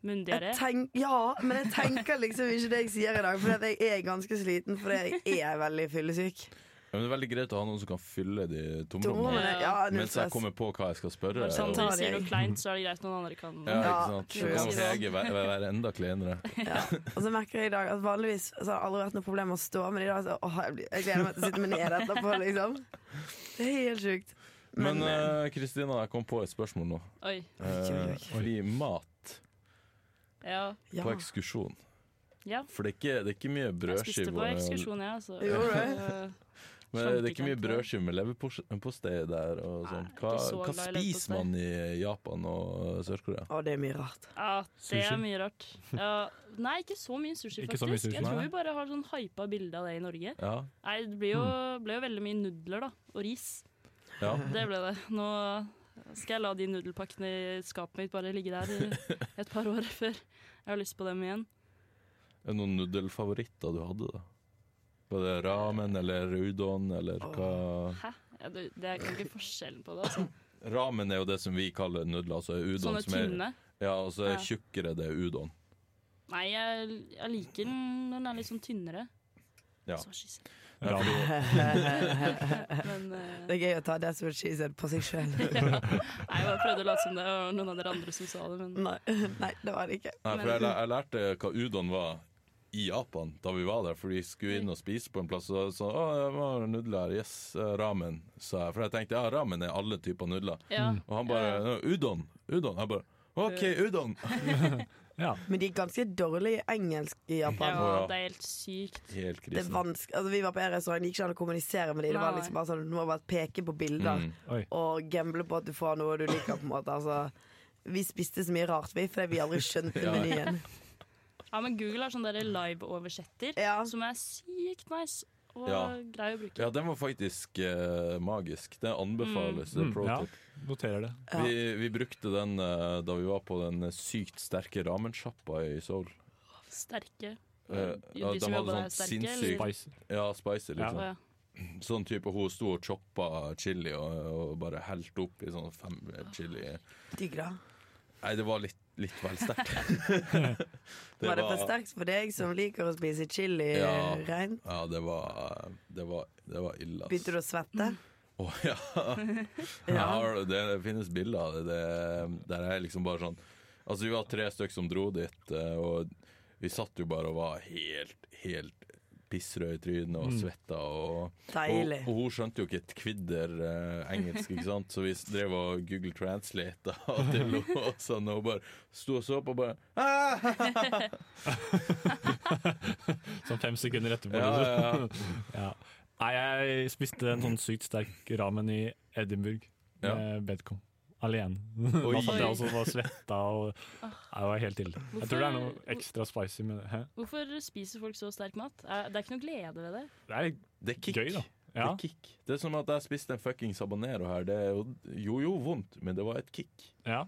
Mundiaré?
Jeg tenk, ja, men jeg tenker liksom ikke det jeg sier i dag, for jeg er ganske sliten fordi jeg er veldig fyllesyk.
Ja, men det er veldig greit å ha noen som kan fylle de tomrommene.
Tomrommene Ja, null
Mens jeg
stress.
kommer på hva jeg skal spørre.
Når
sant,
og-
da.
Sander sier noe kleint, så er det greit noen andre kan
Ja,
Ja,
ikke sant? Så kan
true.
Hege være, være enda kleinere.
Ja. Og så merker jeg i dag at vanligvis så har det aldri vært noe problem å stå, men i dag så åh, jeg, blir, jeg gleder meg til å sitte meg ned etterpå, liksom. Det er helt sjukt.
Men
Men, eh,
eh, Kristina, jeg kom på et spørsmål nå.
Oi.
Eh, fordi mat
Ja.
ja.
på ekskursjon
ja.
For det er ikke, det er ikke mye
Jeg spiste
brødskive
på
og-
ekskursjon, jeg, altså.
Gjorde
Eh,
Men det er
Skjønte
ikke mye
ikke helt.
brødskive med leverpostei der og sånn.
Nei, ikke
Hva,
så
hva
glad i leverpostei.
spiser man i Japan og Sør-Korea?
Å, det er mye rart.
Ja, det
Sushi?
er mye rart. Ja, nei, ikke så mye sushi,
Ikke
faktisk.
så mye sushi,
jeg tror
nei.
vi bare har sånn hypa bilde av det i Norge.
Ja,
Nei, Det ble jo,
Mm.
ble jo veldig mye nudler, da. Og ris.
ja.
Det ble det. Nå skal jeg la de nudelpakkene i skapet mitt bare ligge der i et par år før jeg har lyst på dem igjen.
Er det noen nudelfavoritter du hadde, da? Var det ramen eller udon eller hva?
Hæ? Ja, det, det er ikke forskjellen på det. Altså.
Ramen er jo det som vi kaller nudler. Altså udon
Sånne
som er,
tynne.
ja, og så
Ja.
er tjukkere det er udon.
Nei, jeg, jeg liker den når den er litt sånn tynnere.
Ja.
Så skisse.
Ja, fordi-
Men eh,
Det er gøy å ta det som en she said på seg sjøl.
nei, jeg bare prøvde å late som det var noen av dere andre som sa det, men
Nei, nei, det var det ikke.
Nei, for jeg, læ- jeg lærte hva udon var i Japan da vi var der, for de skulle
Mm.
inn og spise på en plass. Og så å, det var nudler, yes, eh, ramen, sa jeg. For jeg tenkte ja, ramen er alle typer nudler.
ja.
Og han bare «Nå, udon, udon. Jeg bare OK, udon.
Ja.
Men de er ganske dårlige i engelsk i Japan.
ja. Det er helt sykt.
Helt
Det er
krise.
vanskelig altså, Vi var på en restaurant, det gikk ikke an å kommunisere med dem. Det var
Nei.
liksom bare sånn, Du må bare peke på bilder
Mm.
Oi.
og gamble på at du får noe du liker. på en måte altså, Vi spiste så mye rart, vi, fordi vi aldri skjønte
Ja.
menyen.
Ja, men Google har sånn derre live-oversetter
Ja.
som er sykt nice og
Ja.
grei å bruke.
Ja, den var faktisk eh, magisk. Det anbefales. Det er
Mm,
pro
ja.
tip.
Noterer det.
Ja.
Vi, vi brukte den eh, da vi var på den sykt sterke ramensjappa i Seoul.
Sterke.
Eh, ja,
de
de
som
hadde
jobber
sånn
der, er sterke?
sinnssykt
Eller?
Spicy.
Ja,
Ja.
spicy,
Å,
liksom.
ja.
Sånn type hun sto og choppa chili og, og bare helt opp i sånn fem chili
Digg, da.
Nei, det var litt, litt vel sterkt.
Var det for sterkt for deg som liker å spise chili
Ja.
reint?
Ja, det var, det var, det var ille, ass.
Begynte du å svette?
Å ja. Jeg har- det, det finnes bilder av det, det. Der er jeg liksom bare sånn Altså, vi var tre stykker som dro dit, eh, og vi satt jo bare og var helt, helt pissrøde i trynet og svetta og
Deilig.
Og, og hun skjønte jo ikke et kvidder eh, engelsk, ikke sant? så vi s- drev og Google translate og til henne. og Sånn, og hun bare sto og så på og bare «Ah!»
Sånn fem sekunder etterpå.
Ja, ja, ja.
Ja. Nei, jeg spiste en sånn sykt sterk ramen i Edinburgh
Ja.
med Bedcom. Alene.
Oi.
Da satt jeg også og var svetta og Nei, Det var helt ille. Jeg tror det er noe ekstra spicy med det. Hæ?
Hvorfor spiser folk så sterk mat? Er- Det er ikke noe glede ved det.
Det er
Det er kick.
gøy, da.
Det
Ja.
er kick. Det er som at jeg spiste en fuckings habanero her. Det er jo, jo jo vondt, men det var et kick.
ja.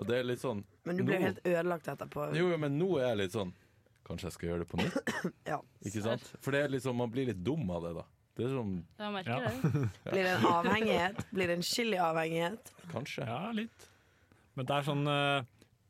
Og det er litt sånn
Men du ble
nå-
jo helt ødelagt etterpå.
Jo, jo, men nå er jeg litt sånn Kanskje jeg skal gjøre det på nytt?
Ja.
Ikke sant? For det er litt sånn, man blir litt dum av det, da. Det er sånn
Jeg merker
Ja.
det.
Blir det en avhengighet? Blir det en chiliavhengighet?
Kanskje.
ja, litt. Men det er sånn eh,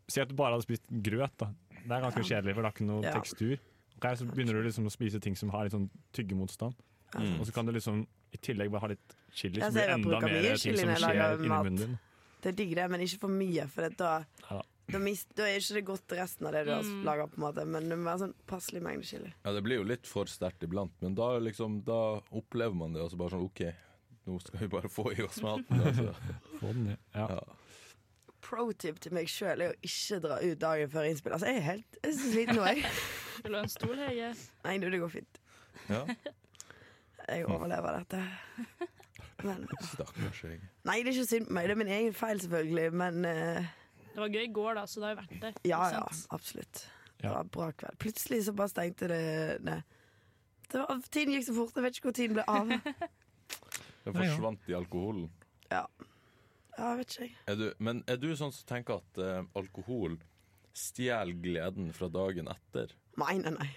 Si at du bare hadde spist grøt. da Det er ganske kjedelig, for det har ikke noe
Ja.
tekstur. Ok, så begynner du liksom å spise ting som har litt sånn tyggemotstand.
Mm.
Og så kan du liksom i tillegg bare ha litt chili,
Jeg
så
ser
Liksom blir det
jeg
enda
bruker
mer
mye
ting
chili
som
når jeg lager
skjer inni
mat.
munnen din.
Det er digg, det, men ikke for mye. For det, da,
Ja.
da, mist, da er ikke det godt resten av det du har laga, på en måte. Men det må være sånn passelig mengde chili.
Ja, det blir jo litt for sterkt iblant, men da, liksom, da opplever man det, og så bare sånn OK, nå skal vi bare få i oss maten. Altså.
Få den ned. Ja.
Ja.
Pro tip til meg sjøl er å ikke dra ut dagen før innspill. Altså, jeg er helt jeg er så sliten nå, jeg.
Vil du ha en stol, Hege?
Nei, du, det går fint.
Ja.
Mm.
Jeg overlever dette. Men,
Stakkars jeg.
nei, det er ikke synd på meg. Det er min egen feil, selvfølgelig. Men eh,
Det var gøy i går, da, så det har jo vært det.
ja,
ikke
ja.
sant?
Absolutt. Det
Ja.
var en bra kveld. Plutselig så bare stengte det ned. Det er var, tiden gikk så fort. Jeg vet ikke hvor tiden ble av.
Jeg
Nei, ja.
forsvant i alkoholen.
Ja, vet ikke jeg.
Er du, men er du sånn som tenker at eh, alkohol stjeler gleden fra dagen etter?
Nei, nei, nei.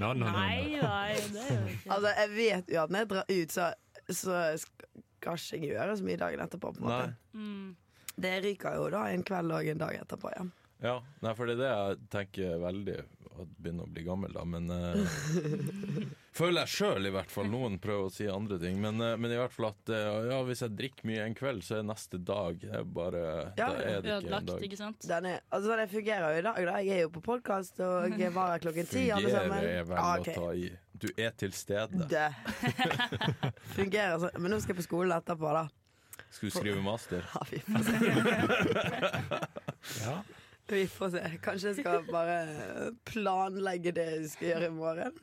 No, no, no, no.
Nei, nei, det gjør vi ikke.
Altså, jeg vet jo at når jeg drar ut, så, så skal ikke jeg gjøre så mye dagen etterpå. på en måte.
Nei.
Mm.
Det ryker jo da en kveld og en dag etterpå. Ja.
Ja, nei, for det er det jeg tenker veldig At begynner å bli gammel, da, men eh, Føler jeg sjøl, i hvert fall. Noen prøver å si andre ting, men, eh, men i hvert fall at eh, ja, hvis jeg drikker mye en kveld, så er neste dag det er bare Da
Ja,
er det ikke en
Ødelagt,
dag.
ikke sant?
Den er, altså, sånn, jeg fungerer jo i dag. da Jeg er jo på podkast og jeg varer klokken ti, alle sammen.
Fungerer er vel
Ja, ok.
å ta i. Du er til stede.
Dø. Fungerer sånn. Men nå skal jeg på skolen etterpå, da.
Skal du skrive master?
Ja, vi får se.
Ja.
Vi får se. Kanskje jeg skal bare planlegge det jeg skal gjøre i morgen.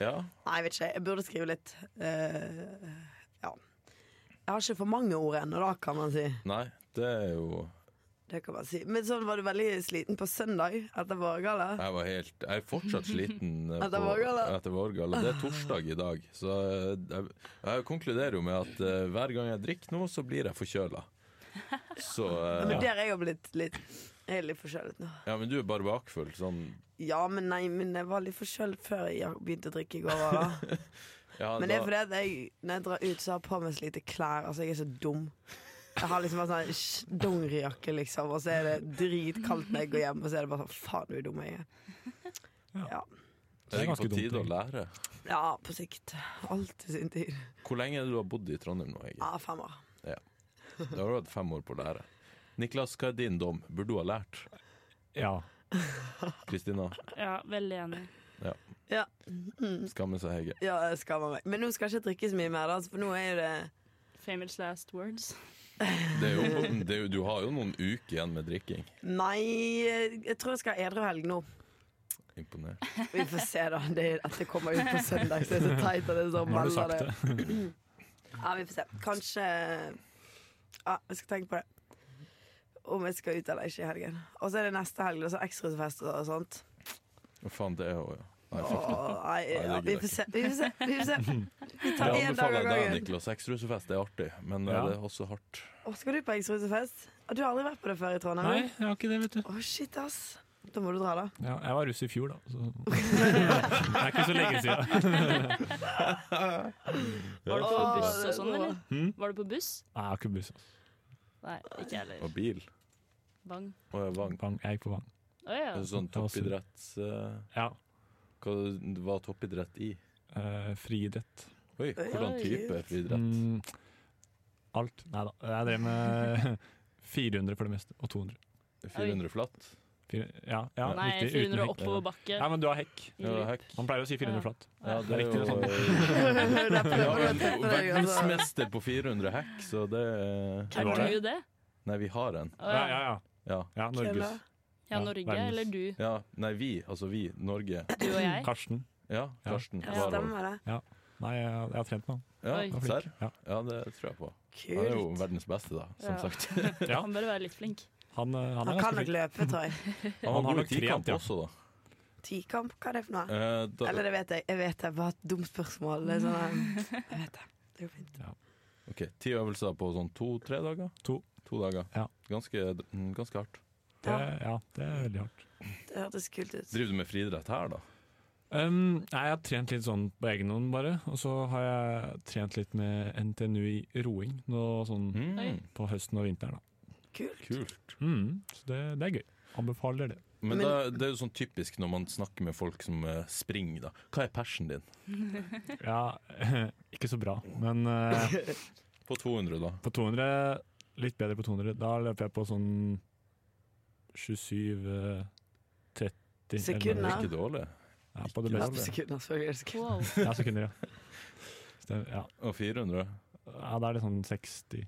Ja.
Nei, jeg vet ikke. Jeg burde skrive litt. Eh, ja. Jeg har ikke for mange ord ennå, da, kan man si.
Nei, det er jo
Det kan man si. Men sånn var du veldig sliten på søndag etter vårgalla.
Jeg var helt Jeg er fortsatt sliten eh,
Etter
på-
vårgalla.
etter vårgalla. Det er torsdag i dag, så eh, jeg, jeg konkluderer jo med at eh, hver gang jeg drikker nå, så blir jeg forkjøla. Så eh,
Men
ja.
der er jeg jo blitt litt Jeg er litt forkjølet nå.
men du er bare bakfull. Sånn
Ja, men nei, men jeg var litt forkjølet før jeg begynte å drikke i går. Da.
ja,
Men det er
da-
fordi at jeg, når jeg drar ut, så har jeg på meg så lite klær. Altså, jeg er så dum. Jeg har liksom en sånn dongerijakke, liksom, og så er det dritkaldt når jeg går hjem, og så er det bare sånn Faen, hvor dum jeg er. Ja.
Det er
ganske
på
dumt,
tide
egentlig.
å lære.
ja, på sikt. Alltid sin tid.
Hvor lenge er det du har bodd i Trondheim nå, Egil?
Ja, fem år.
Det har du hatt fem år på å lære. Niklas, hva er din dom? Burde du ha lært?
Ja.
Kristina,
Ja, veldig enig.
skamme seg Hege.
Ja, jeg skammer meg. Men nå skal jeg ikke drikke så mye mer, da, altså, for nå er jo det
Famous last words.
Det er jo, det er jo, du har jo noen uker igjen med drikking.
Nei, jeg tror jeg skal ha edru helg nå.
Imponert.
Vi får se, da. Det, at det kommer ut på søndag, så er det så teit at det er så
Nå har du
veldig-
sagt det.
Ja, vi får se. Kanskje Ja, jeg skal tenke på det. Om jeg skal ut eller ikke i helgen. Og så er det neste helg, og så ekstrasfest og sånt.
Hva faen, det er jo ja. Nei,
Åh,
fuck.
nei, ja, vi får se. Vi får se. Vi får se. Vi
Det
tar én dag av
anbefaler jeg deg,
gangen.
Niklas. Eksrusefest er artig, men eh,
Ja.
det er også hardt.
Åh, skal du på ekstrasfest? Du har aldri vært på det før i Trondheim?
Nei,
vel?
jeg har ikke det, vet du.
Åh, shit, ass. Da må du dra, da.
Ja, jeg var russ i fjor, da. Så. Det er ikke så lenge siden.
Var du på
Åh,
buss og
det
sånn,
går.
eller?
Hmm?
Var du på buss?
Nei, jeg har ikke buss. altså.
Nei, ikke jeg heller.
Og bil.
Bang.
Og jeg vang.
Bang, jeg gikk på bang.
Å ja.
En Sånn toppidretts... eh,
Ja.
Hva var toppidrett i?
eh, friidrett.
Oi, hvordan
Oi.
type friidrett?
Mm, alt. Nei da. Jeg drev med 400 for det meste, og 200.
400 flatt?
Fire, ja, ja,
Nei,
riktig, uten
400
hekk.
oppover bakke.
Nei, men du har hekk.
Ja, hekk.
Man pleier å si 400
Ja.
flatt.
Ja, det er
Riktig,
jo
sånn.
Da
Vi
prøver
har
du å
en
tette deg, altså.
verdensmester på 400 hekk, så det
Hvem
Er
var
du det?
Nei, vi har en.
Å
Ja, ja, ja.
Ja.
ja Norges.
Kølla.
Ja,
Ja, Norge
verdens.
eller du?
ja. Nei, vi. Altså vi. Norge.
Du og jeg?
Karsten.
Ja, Karsten.
Ja.
Warholm.
Stemmer det.
Nei, jeg, jeg har trent med han.
Ja,
Oi.
Han er
serr?
flink. Ja.
Ja, det tror jeg på. Han er jo
Kult.
verdens beste, da, som
Ja.
sagt.
Ja.
Han bør være litt flink.
Han, eh, han er
Han kan
ganske
nok
flink.
løpe, tror jeg.
Han var
har
god i
nok trent,
tikamp
ja.
også, da.
Tikamp, hva er det for noe?
Eh, da
Eller det vet jeg. Jeg vet det. Bare et dumt spørsmål. Det er sånn, um, jeg vet det. Det går fint.
ok, Ti øvelser på sånn to-tre dager?
To.
To dager.
Ja.
Ganske, mm, ganske hardt.
Det, ja, det er veldig hardt.
Det hørtes kult ut.
Driver du med friidrett her, da?
Um, nei, jeg har trent litt sånn på egen hånd, bare. Og så har jeg trent litt med NTNU i roing nå sånn
Mm.
Oi.
på høsten og vinteren. Da.
Kult.
Kult.
Mm, så det, det er gøy. Anbefaler det.
Men,
Men-
da, det er jo sånn typisk når man snakker med folk som eh, springer, da. Hva er persen din?
Ja, ikke så bra, men eh,
På 200, da.
på 200 Litt bedre på 200. Da løper jeg på sånn 27 30
Det
Sekunder.
er ikke dårlig.
Ja, på det
Ja,
beste.
på sekunder, selvfølgelig. er det sekunder.
Wow.
Ja, sekunder, ja. Stem, ja.
Og 400.
ja. Da er det sånn 60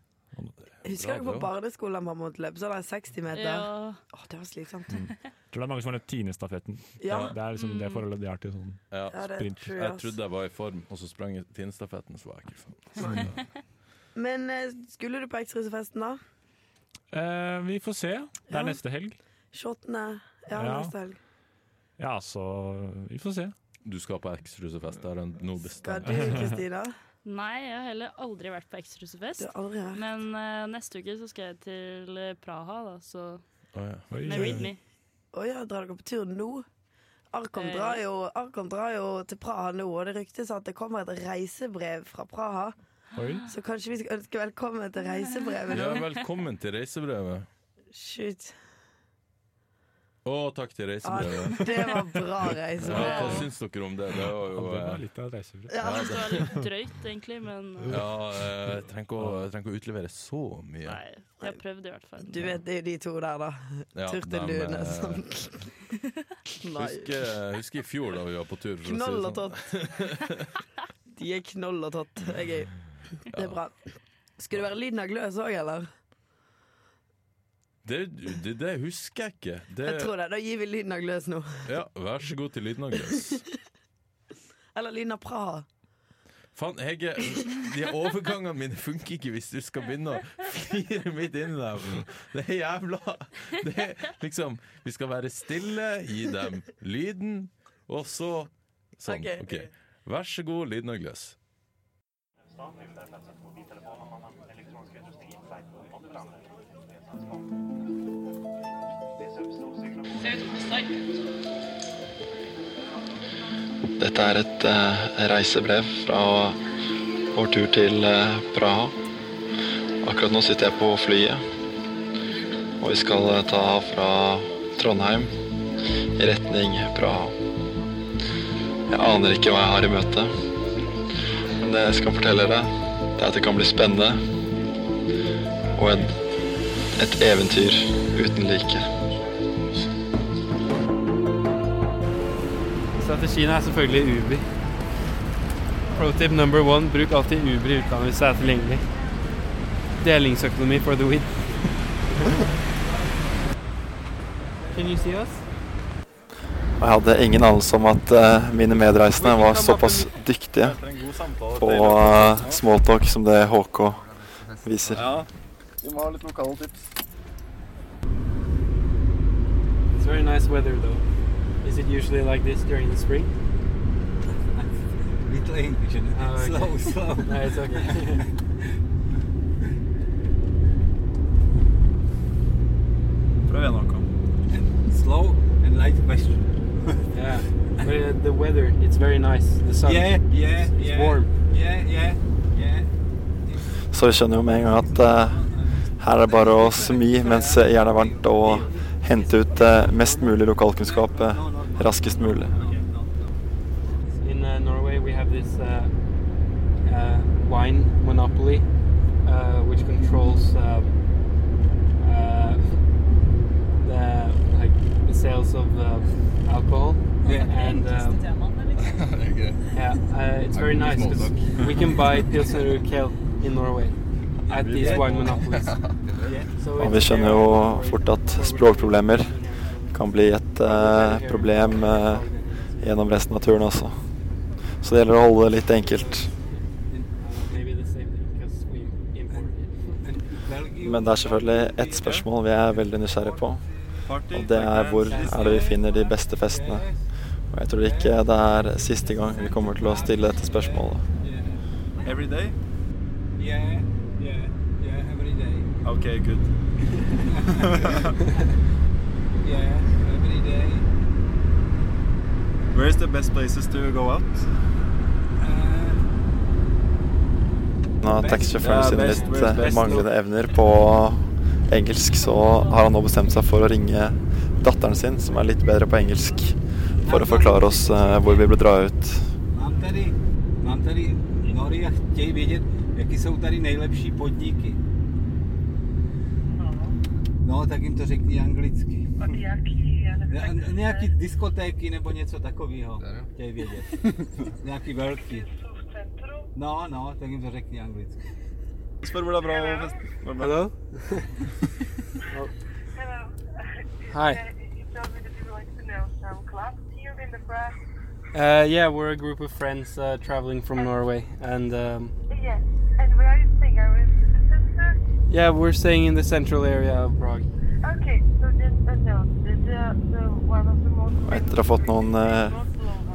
Husker dere
Bra,
på
bra.
barneskolen man måtte løpe sånn der 60 meter?
Ja.
Åh, det var slitsomt.
Mm.
Jeg tror det er mange som har løpt tiendestafetten.
Ja, Mm.
Det er liksom det forholdet de har til sånn
Ja.
ja det
sprint.
tror jeg.
Jeg
ass.
trodde jeg var i form, og så sprang jeg tinnstafetten, så var jeg ikke i form.
Men eh, skulle du på ekstrasfesten, da?
Eh, vi får se. Det er
Ja.
neste helg.
28. Ja,
Ja.
neste helg.
Ja, så vi får se.
Du skal på X-rusefest, det er en- nå
Skal
bestemt.
du, Kristina?
Nei, jeg har heller aldri vært på
Du
ekstrasfest.
har aldri vært
Men eh, neste uke så skal jeg til eh, Praha, da, så
Å, ja.
Oi,
Nei, read me.
Å ja, drar dere på tur nå? Arkom
Eh.
drar, jo, Arkom drar jo til Praha nå, og det ryktes at det kommer et reisebrev fra Praha.
Oi.
Så kanskje vi skal ønske velkommen til reisebrevet
ja,
nå?
velkommen til reisebrevet.
Shoot.
Å, takk til
Ja,
reisebrevet.
det var bra
Ja,
reisebrev.
hva syns dere om det? Det var
Ja,
jo
det var
eh,
litt av et reisebrev.
Jeg synes det var litt drøyt, egentlig, men eh,
Ja, eh, jeg trenger ikke å, jeg trenger ikke å utlevere så mye.
nei. Jeg har prøvd i hvert fall.
Du vet, det er jo de to der, da.
Ja, dem,
Turtelduene
eh,
som Nei.
Husker, eh, husker i fjor da vi var på tur. for å si det
Knoll og
sånn.
tott. De er knoll og tott. Det er gøy. Det er bra. Skulle det være lyden av gløs òg, eller?
Det, det, det husker jeg ikke. Det,
Jeg tror det. Da gir vi lyden av gløs nå.
ja, vær så god til lyden av gress.
Eller lyden av Praha.
Faen, Hege, de overgangene mine funker ikke hvis du skal begynne å flire midt inn i dem. Det er jævla det er liksom, Vi skal være stille, gi dem lyden, og så Sånn.
Ok.
OK. Vær så god, lyden av gløs.
Dette er et eh, reisebrev fra vår tur til eh, Praha. Akkurat nå sitter jeg på flyet, og vi skal eh, ta fra Trondheim i retning Praha. Jeg aner ikke hva jeg har i møte, men det jeg skal fortelle dere, det er at det kan bli spennende og en, et eventyr uten like.
Strategien er selvfølgelig Uber. Protip number one, bruk alltid Uber i utlandet hvis det er tilgjengelig. Delingsøkonomi for the win. Can you see us?
Og jeg hadde ingen anelse om at eh, mine medreisende var såpass dyktige på eh, smalltalk som det HK viser.
Vi må ha litt lokale tips.
It's very nice weather though. Is it usually like this during the spring?
Little English and
Oh, okay.
slow, slow.
No, it's okay.
Prøv igjen, Håkon.
slow and light question.
yeah. But uh, the weather, it's very nice. The sun.
Yeah, yeah,
It's
yeah.
warm.
Yeah, yeah, yeah.
Så vi skjønner jo med en gang at eh, her er det bare å smi mens jernet er varmt, og hente ut eh, mest mulig lokalkunnskap eh, raskest mulig.
In uh, Norway, we have this uh, uh, wine monopoly, uh, which controls um, uh, the like the sales of
um,
uh, alcohol.
Oh,
Yeah.
And uh, yeah, uh, it's very
can be
nice
small
'cause we can buy Pilsner Urkel in Norway at these wine monopolies. So
Og
it's
vi skjønner
very
jo
important
fort at
for-
språkproblemer kan bli et eh, problem eh, gjennom resten av turen også. Så det gjelder å holde det litt enkelt.
Maybe the same thing, 'cause we import it.
Men det er selvfølgelig ett spørsmål vi er veldig nysgjerrig på,
Party,
og det er hvor er det vi finner de beste festene? Og jeg tror ikke det er siste gang vi kommer til å stille dette spørsmålet.
Every day?
Yeah, yeah, yeah, every day.
Ok, good.
Yeah, every day.
Where's the best places to go out?
Uh,
Nå har taxisjåføren sine litt eh, manglende evner på engelsk, så har han nå bestemt seg for å ringe datteren sin, som er litt bedre på engelsk, for å forklare oss eh, hvor vi burde dra ut.
Mám tady, mám tady nory a chtějí vědět, jaký jsou tady nejlepší podniky. No, tak jim to řekni anglicky. Nějaký, nějaký diskotéky nebo něco takového chtějí vědět. nějaký velký. No, no, tak jim to řekni anglicky.
Spør hvor det er bra å feste. Hvor det er bra.
Hello? Hi.
You told me that you would like to know some clubs here in the press.
Uh, yeah, we're a group of friends uh, traveling from Norway, and um,
Yes. And where are you staying? Are you with the sister?
yeah, we're staying in the central area of Prague.
Okay, so just a note. The, the, the one of the most
Og etter å ha fått noen eh,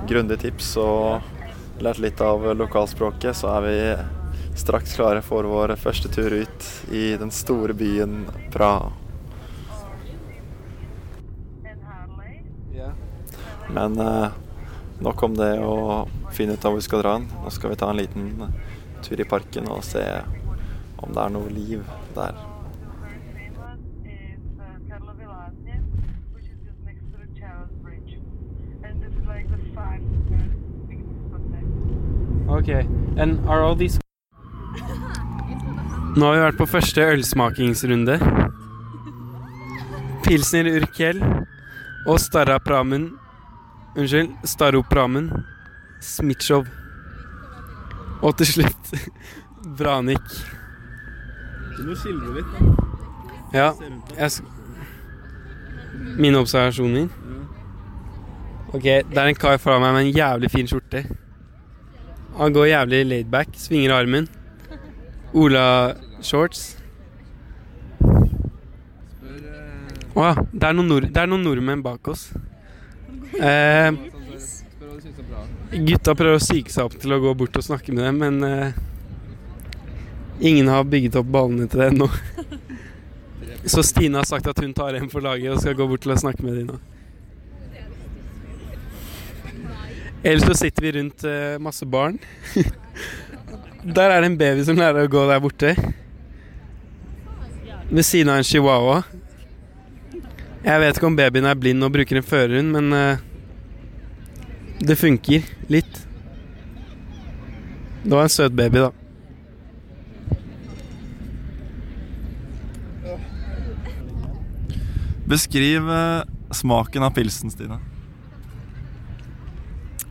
grundige tips og lært litt av lokalspråket, så er vi straks klare for vår første tur ut i den store byen Praha.
in Harley.
Yeah.
Men eh, nok om det å finne ut av hvor vi skal dra hen. Nå skal vi ta en liten tur i parken og se om det er noe liv der.
Also very famous is uh, Carlo Villani, which is just next to the Charles Bridge. And this is like the five most big discotheque.
Okay. And are all these Nå har vi vært på første ølsmakingsrunde. Pilsner Urkel og Starapramen Unnskyld, Staropramen Smitsjov. Og til slutt Branik.
Du må skildre litt.
Ja, jeg sk Mine observasjoner? Ok, det er en kar fra meg med en jævlig fin skjorte. Han går jævlig laidback, svinger armen. Ola-shorts. Å ja, det er, noen nord det er noen nordmenn bak oss. Eh, gutta prøver å psyke seg opp til å gå bort og snakke med dem, men eh, ingen har bygget opp ballene til det ennå. Så Stine har sagt at hun tar en for laget og skal gå bort til å snakke med de nå. Ellers så sitter vi rundt eh, masse barn. Der er det en baby som lærer å gå der borte.
ved siden av en chihuahua. Jeg vet ikke om babyen er blind og bruker en førerhund, men eh, det funker litt. Det var en søt baby, da.
Beskriv eh, smaken av pilsen, Stine.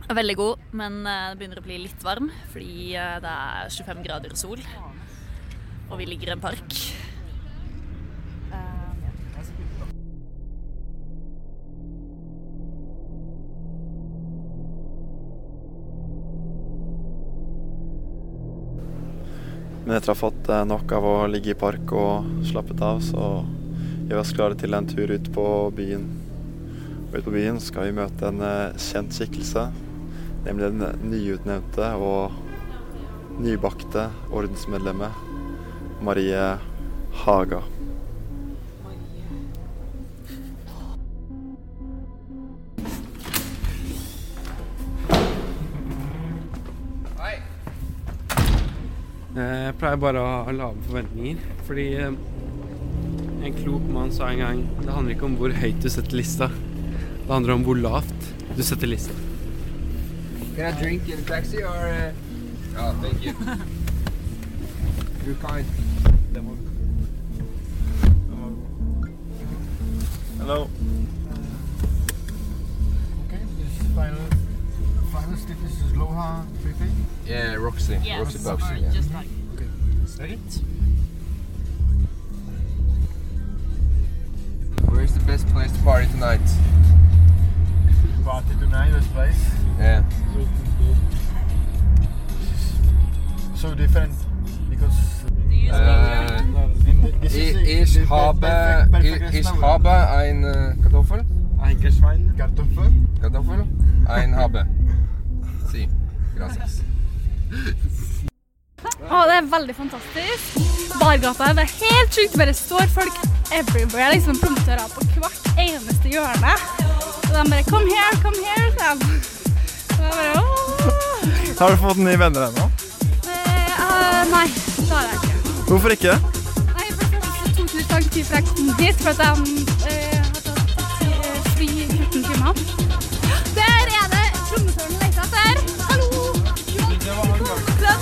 Er Veldig god, men eh, det begynner å bli litt varm fordi eh, det er 25 grader og sol. Og vi ligger i en park.
Men etter å ha fått eh, nok av å ligge i park og slappet av, så gjør vi oss klare til en tur ut på byen. Og ut på byen skal vi møte en eh, kjent skikkelse, nemlig den nyutnevnte og nybakte ordensmedlemmet Marie Haga.
Eh, Jeg pleier bare å ha lave forventninger, fordi eh, en klok mann sa en gang det handler ikke om hvor høyt du setter lista, det handler om hvor lavt du setter lista.
Can I drink in a taxi or? Uh... Oh, thank you. You're kind.
Hello.
Okay, this is final, final step. This is Loha Pepe.
Yeah, Roxy.
Yes,
Roxy
or
Boxy. Yeah.
just like-
Okay. Where's the best place to party tonight?
Party tonight, this place.
Yeah.
So different because.
Uh,
This is the-
is
the
Habe,
perfect- perfect
is
restaurant.
Habe ein äh, Kartoffel?
Eingeschwein. Kartoffel.
Kartoffel? Ein Habe. Si. Gracias.
Å, det er veldig fantastisk. Bargata det er helt sjukt. Bare står folk everywhere. Liksom promotører på hvert eneste hjørne. Og de bare 'Come here, come here', sa de. Og jeg bare åh.
Har du fått nye venner ennå?
Eh, eh, nei, det har jeg ikke.
Hvorfor ikke?
Nei, for det første tok det litt lang tid før jeg kom hit, for at jeg eh, har tatt eh, fly i 14 timer. Der er det promotøren jeg leter etter. Hallo! Velkommen.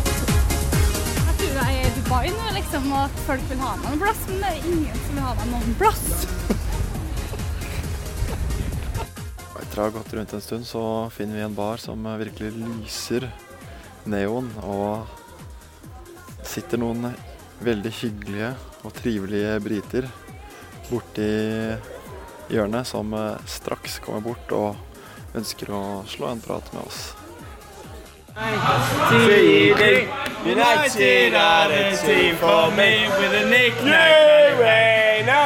Jeg tror jeg er i Dubai nå, liksom, og at folk vil ha meg noen plass, men det er ingen som vil ha meg noen plass.
Og Etter å ha gått rundt en stund så finner vi en bar som virkelig lyser neon, og sitter noen veldig hyggelige og trivelige briter borti hjørnet som eh, straks kommer bort og ønsker å slå en prat med oss.
Tider. United are the team for me with a nickname. New Reino.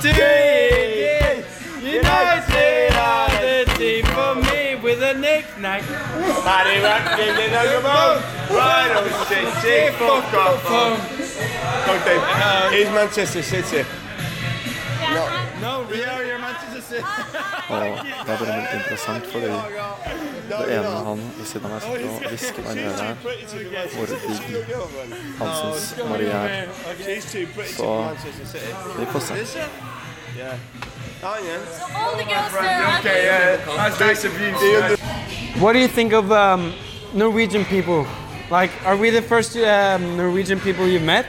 Tider. United are the team for me with a nickname. Paddy Ratfield in a bone. Rhino City, fuck off home.
Okay, he's Manchester City.
No, we are your Manchester City.
Og det er bare litt interessant fordi det ene han er ved siden av meg sitter og hvisker meg i øret her, hvor er digg han syns Marie er.
She's too pretty to
Så
be Manchester City.
vi får se.
Is she? Yeah. Aren't you?
All the girls
Okay, yeah. That's nice of you.
er
Steve.
What do you think of um, Norwegian people? Like, are we the first um, Norwegian people you've met?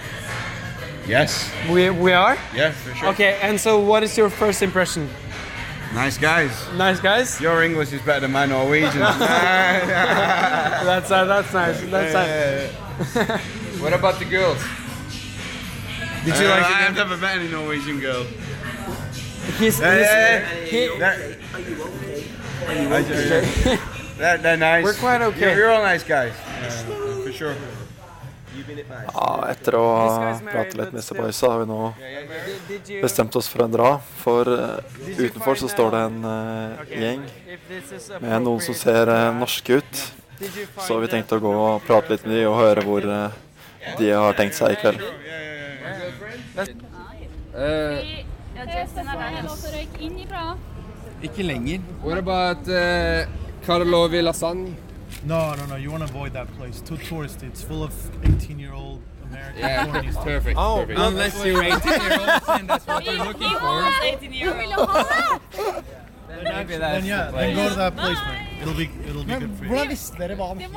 Yes.
We, we are?
Yeah, for sure.
Okay, and so what is your first impression?
Nice guys.
Nice guys.
Your English is better than my Norwegian.
that's, uh, that's nice. That's nice.
what about the girls?
Did you like
I've never met any Norwegian girl.
He's,
Yeah,
he's-
yeah, yeah.
he-
They're-
Are you okay?
They're, they're nice.
We're quite okay.
You're, you're all nice guys. for sure.
Ja, etter å ha pratet litt med disse boysa har vi nå bestemt oss for å dra. For eh, utenfor så står det en eh, gjeng med noen som ser eh, norske ut. Så vi tenkte å gå og prate litt med de og høre hvor eh, de har tenkt seg i kveld.
Uh,
Ja, Jason er der. Lov til å røyke inn ifra.
Ikke lenger. What about uh, Carlo Villasan?
No, no, no. You want to avoid that place. Too touristy. It's full of 18 year old American
Yeah,
cornies.
perfect, Oh, perfect. unless you're 18-year-olds and that's what they're looking for.
Then, yeah, then go to that place, man. It'll be, it'll be good for you.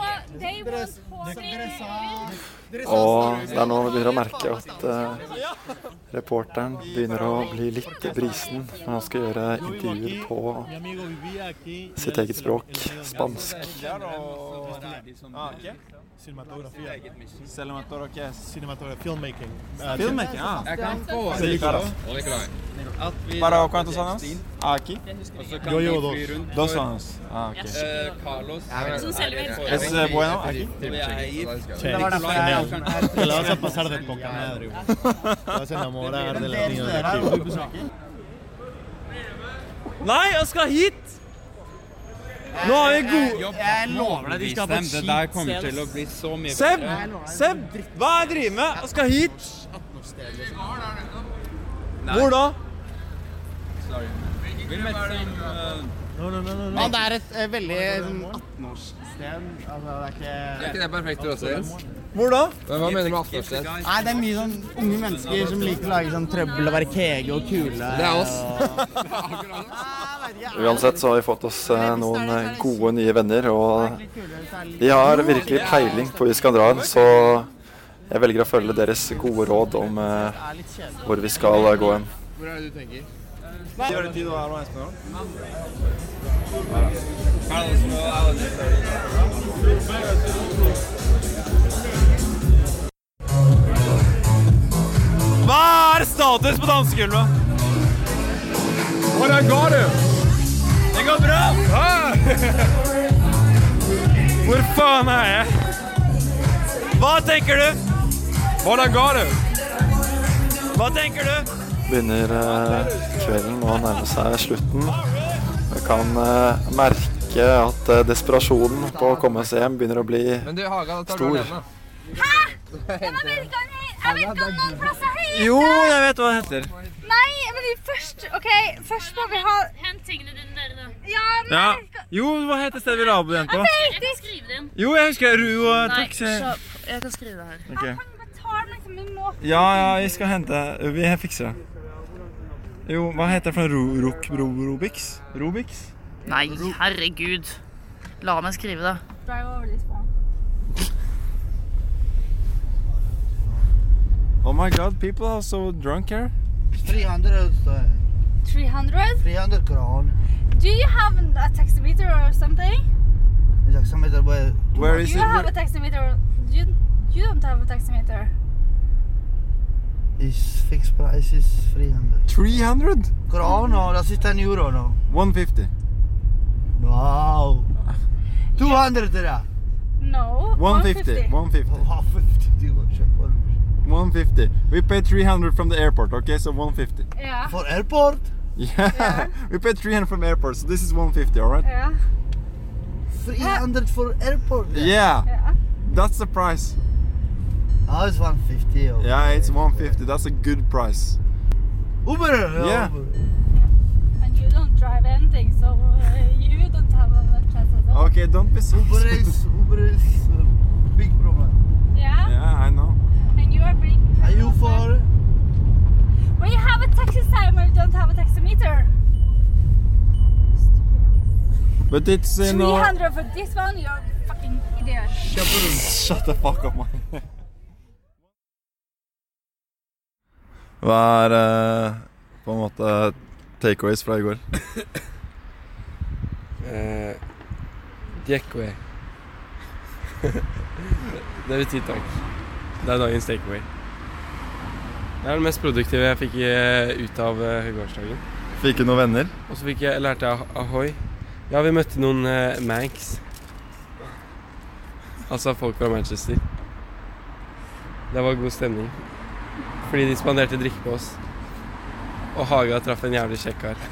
Og det er nå vi begynner å merke at eh, reporteren begynner å bli litt brisen når han skal gjøre intervjuer på sitt eget språk, spansk.
Cinematografia. Filmmaking.
Ah, Filmmaking, ah. Jeg kan få-
Películas.
Para cuántos años? Ah, aquí.
Yo llevo dos. Eh,
Dos años. Ah,
eh,
ok.
Ah,
Es eh, bueno aquí.
Che, genial.
sånn
Te la vas a pasar de poca madre, güey. Te vas a enamorar del latino de aquí, güey.
Nei, jeg skal hit! Nå
eh,
har vi
Eh,
gode
Jeg lover deg, de skal på et
Stem,
skip
det der kommer til å
bli så mye
Seb! Seb! Hva er jeg driver med? Jeg skal hit!
liksom.
Hvor da?
No, no, no, no, no.
Ja, det er et eh, veldig sånn 18-årssted. Altså, det er ikke
Er ikke det perfekt for oss? Jens?
Hvor da?
Men Hva mener du med 18-årssted?
Nei, det er mye sånn unge mennesker som liker å lage sånn trøbbel og være kege og kule.
Det er oss.
Uansett så har vi fått oss eh, noen eh, gode nye venner, og de har virkelig peiling på hvor vi skal dra, så jeg velger å følge deres gode råd om eh, hvor vi skal eh, gå hen.
Hvor er det du tenker?
Gjør det tid å være med Espen nå?
Hva er status på dansegulvet? Hvordan går det? Det går bra! Hvor faen er jeg? Hva tenker du? Hvordan går det? Hva tenker du?
begynner eh, kvelden å nærme seg slutten. Vi kan eh, merke at eh, desperasjonen på å komme seg hjem begynner å bli
Men du, Haga, da tar du
Stor.
alene.
Jeg vet ikke om noen plasser her.
Jo, jeg vet hva det heter.
Nei, men først OK, først må vi ha Hent tingene dine dere, da. Ja, men
Ja. Jo, hva heter stedet vi la på den på?
Jeg kan skrive det inn.
Jo, jeg husker det. Ru og
Nei,
taxi.
slapp. Jeg kan skrive det her.
Ok.
Tar den liksom, men nå
Ja, ja, vi skal hente Vi fikser det. Jo, hva heter det for noe? Ro- Rok... Ro, Robix? Robix?
Nei, herregud. La meg skrive det.
Drive over this one.
Oh my god, people are so drunk here.
300, uh,
300?
300 kron.
Do you have an- a taximeter or something?
Is that some other way?
Do you have a taximeter? You, you don't have a taximeter.
Is fixed price is 300.
300?
Kron, no, that's is 10 euro, no.
150.
Wow. 200 lira.
No.
150. 150. 150. We paid 300 from the airport, okay? So 150.
Yeah.
For airport?
Yeah. we paid 300 from airport, so this is 150, alright?
Yeah.
300 for airport?
Yeah. That's the price.
Oh, it's 150. okay.
Yeah, it's 150. That's a good price.
Uber. yeah,
Yeah.
Uber.
And you don't drive anything, so uh, you don't have a translator.
Okay, don't be so
Uber is Uber is uh, big problem.
Yeah?
Yeah, I know.
And you are big.
Are you for?
When you have a taxi sign, when you don't have a taximeter.
But it's in uh,
300 for this one, you're a fucking idiot.
Shut the fuck up, man.
Hva er eh, på en måte takeaways fra i går?
Eh, Takeaway. det betyr takk. Det er dagens takeaway. Det er det mest produktive jeg fikk eh, ut av eh, høygårdsdagen.
Fikk du noen venner?
Og så fikk jeg, lærte jeg ah- ahoy. Ja, vi møtte noen eh, manx. Altså folk fra Manchester. Det var god stemning. Fordi de spanderte drikke på oss. Og Haga traff en jævlig kjekk kar.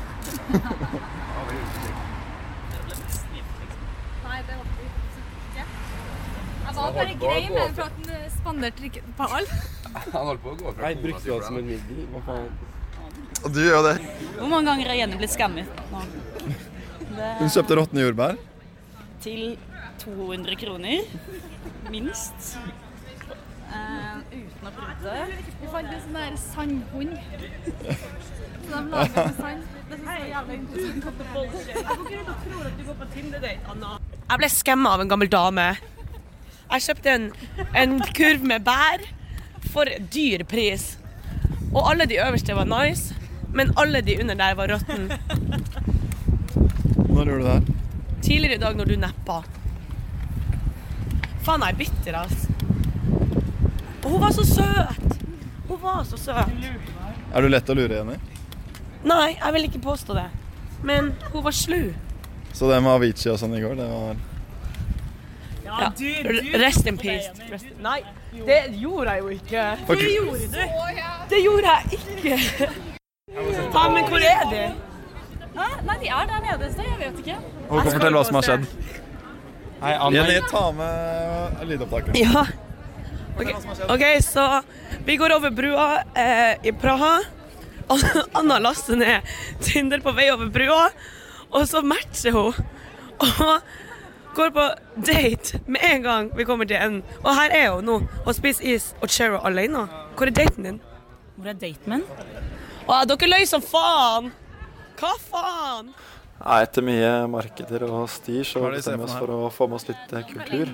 Nei, det håper jeg ikke. Jeg
var bare grei med den for
at den spanderte ikke på alt.
Han holdt på å gå fra
Nei, brukte du det som en middel? Hva faen?
Du gjør det.
Hvor mange ganger har Jenny blitt skammet? nå? Det
Hun kjøpte råtne jordbær.
til
200 kroner, minst. Eh, uten å prute.
Vi fant en sånn der sandhund. Så de lager med sand. Det synes jeg var jævlig interessant.
Jeg ble skamma av en gammel dame. Jeg kjøpte en, en kurv med bær for dyr pris. Og alle de øverste var nice, men alle de under der var råtten.
Når gjorde du det her?
Tidligere i dag når du neppa. Faen, jeg er bitter, ass. Og hun var så søt! Hun var så søt.
Er du lett å lure, Jenny?
Nei, jeg vil ikke påstå det. Men hun var slu.
Så det med Avicii og sånn i går, det var
Ja, r- Rest in peace. Rest in... Nei, det gjorde jeg jo ikke.
Ok.
Det gjorde du. Det gjorde jeg ikke. Faen, men hvor er de?
Hæ? Nei, de er der nede et sted, jeg vet ikke.
Håkon, fortell hva som har skjedd.
Hei,
Jenny, ta med lydopptakeren.
Ja. Ok, OK, så vi går over brua eh, i Praha. An- Anna laster ned Tinder på vei over brua, og så matcher hun. Og går på date med en gang vi kommer til enden. Og her er hun nå og spiser is og cherry alene. Hvor er daten din?
Hvor er daten min?
Å, dere løy som faen! Hva faen?
Nei, etter mye markeder og styr så
Hva er det de ser
bestemmer vi oss
for
for å få med oss litt eh, kultur.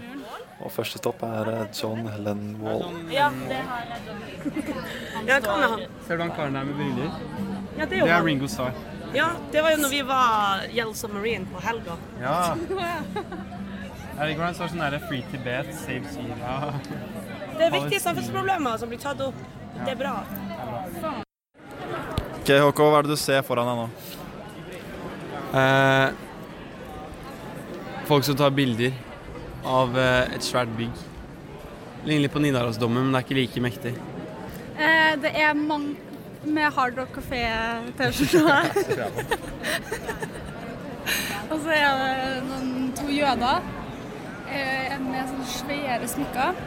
Og første stopp er eh, John Lenwall.
Ja, det har jeg. Ja, hvem er han?
Ser du han karen der med briller?
Ja, det er jo
Det er
han.
Ringo Starr.
Ja, det var jo når vi var Yellow Submarine på helga.
Ja. Jeg liker hvordan det står sånn der Free Tibet, Save Syria.
Det er viktige samfunnsproblemer som blir tatt opp. Det er bra.
Ok, HK, hva er det du ser foran deg nå?
Eh, folk som tar bilder av eh, et svært bygg. Ligner litt på Nidarosdommen, men det er ikke like mektig.
Eh, Det er mange med Hard Rock Café-T-skjorte. Og så er det noen to jøder eh, en med sånne svære smykker.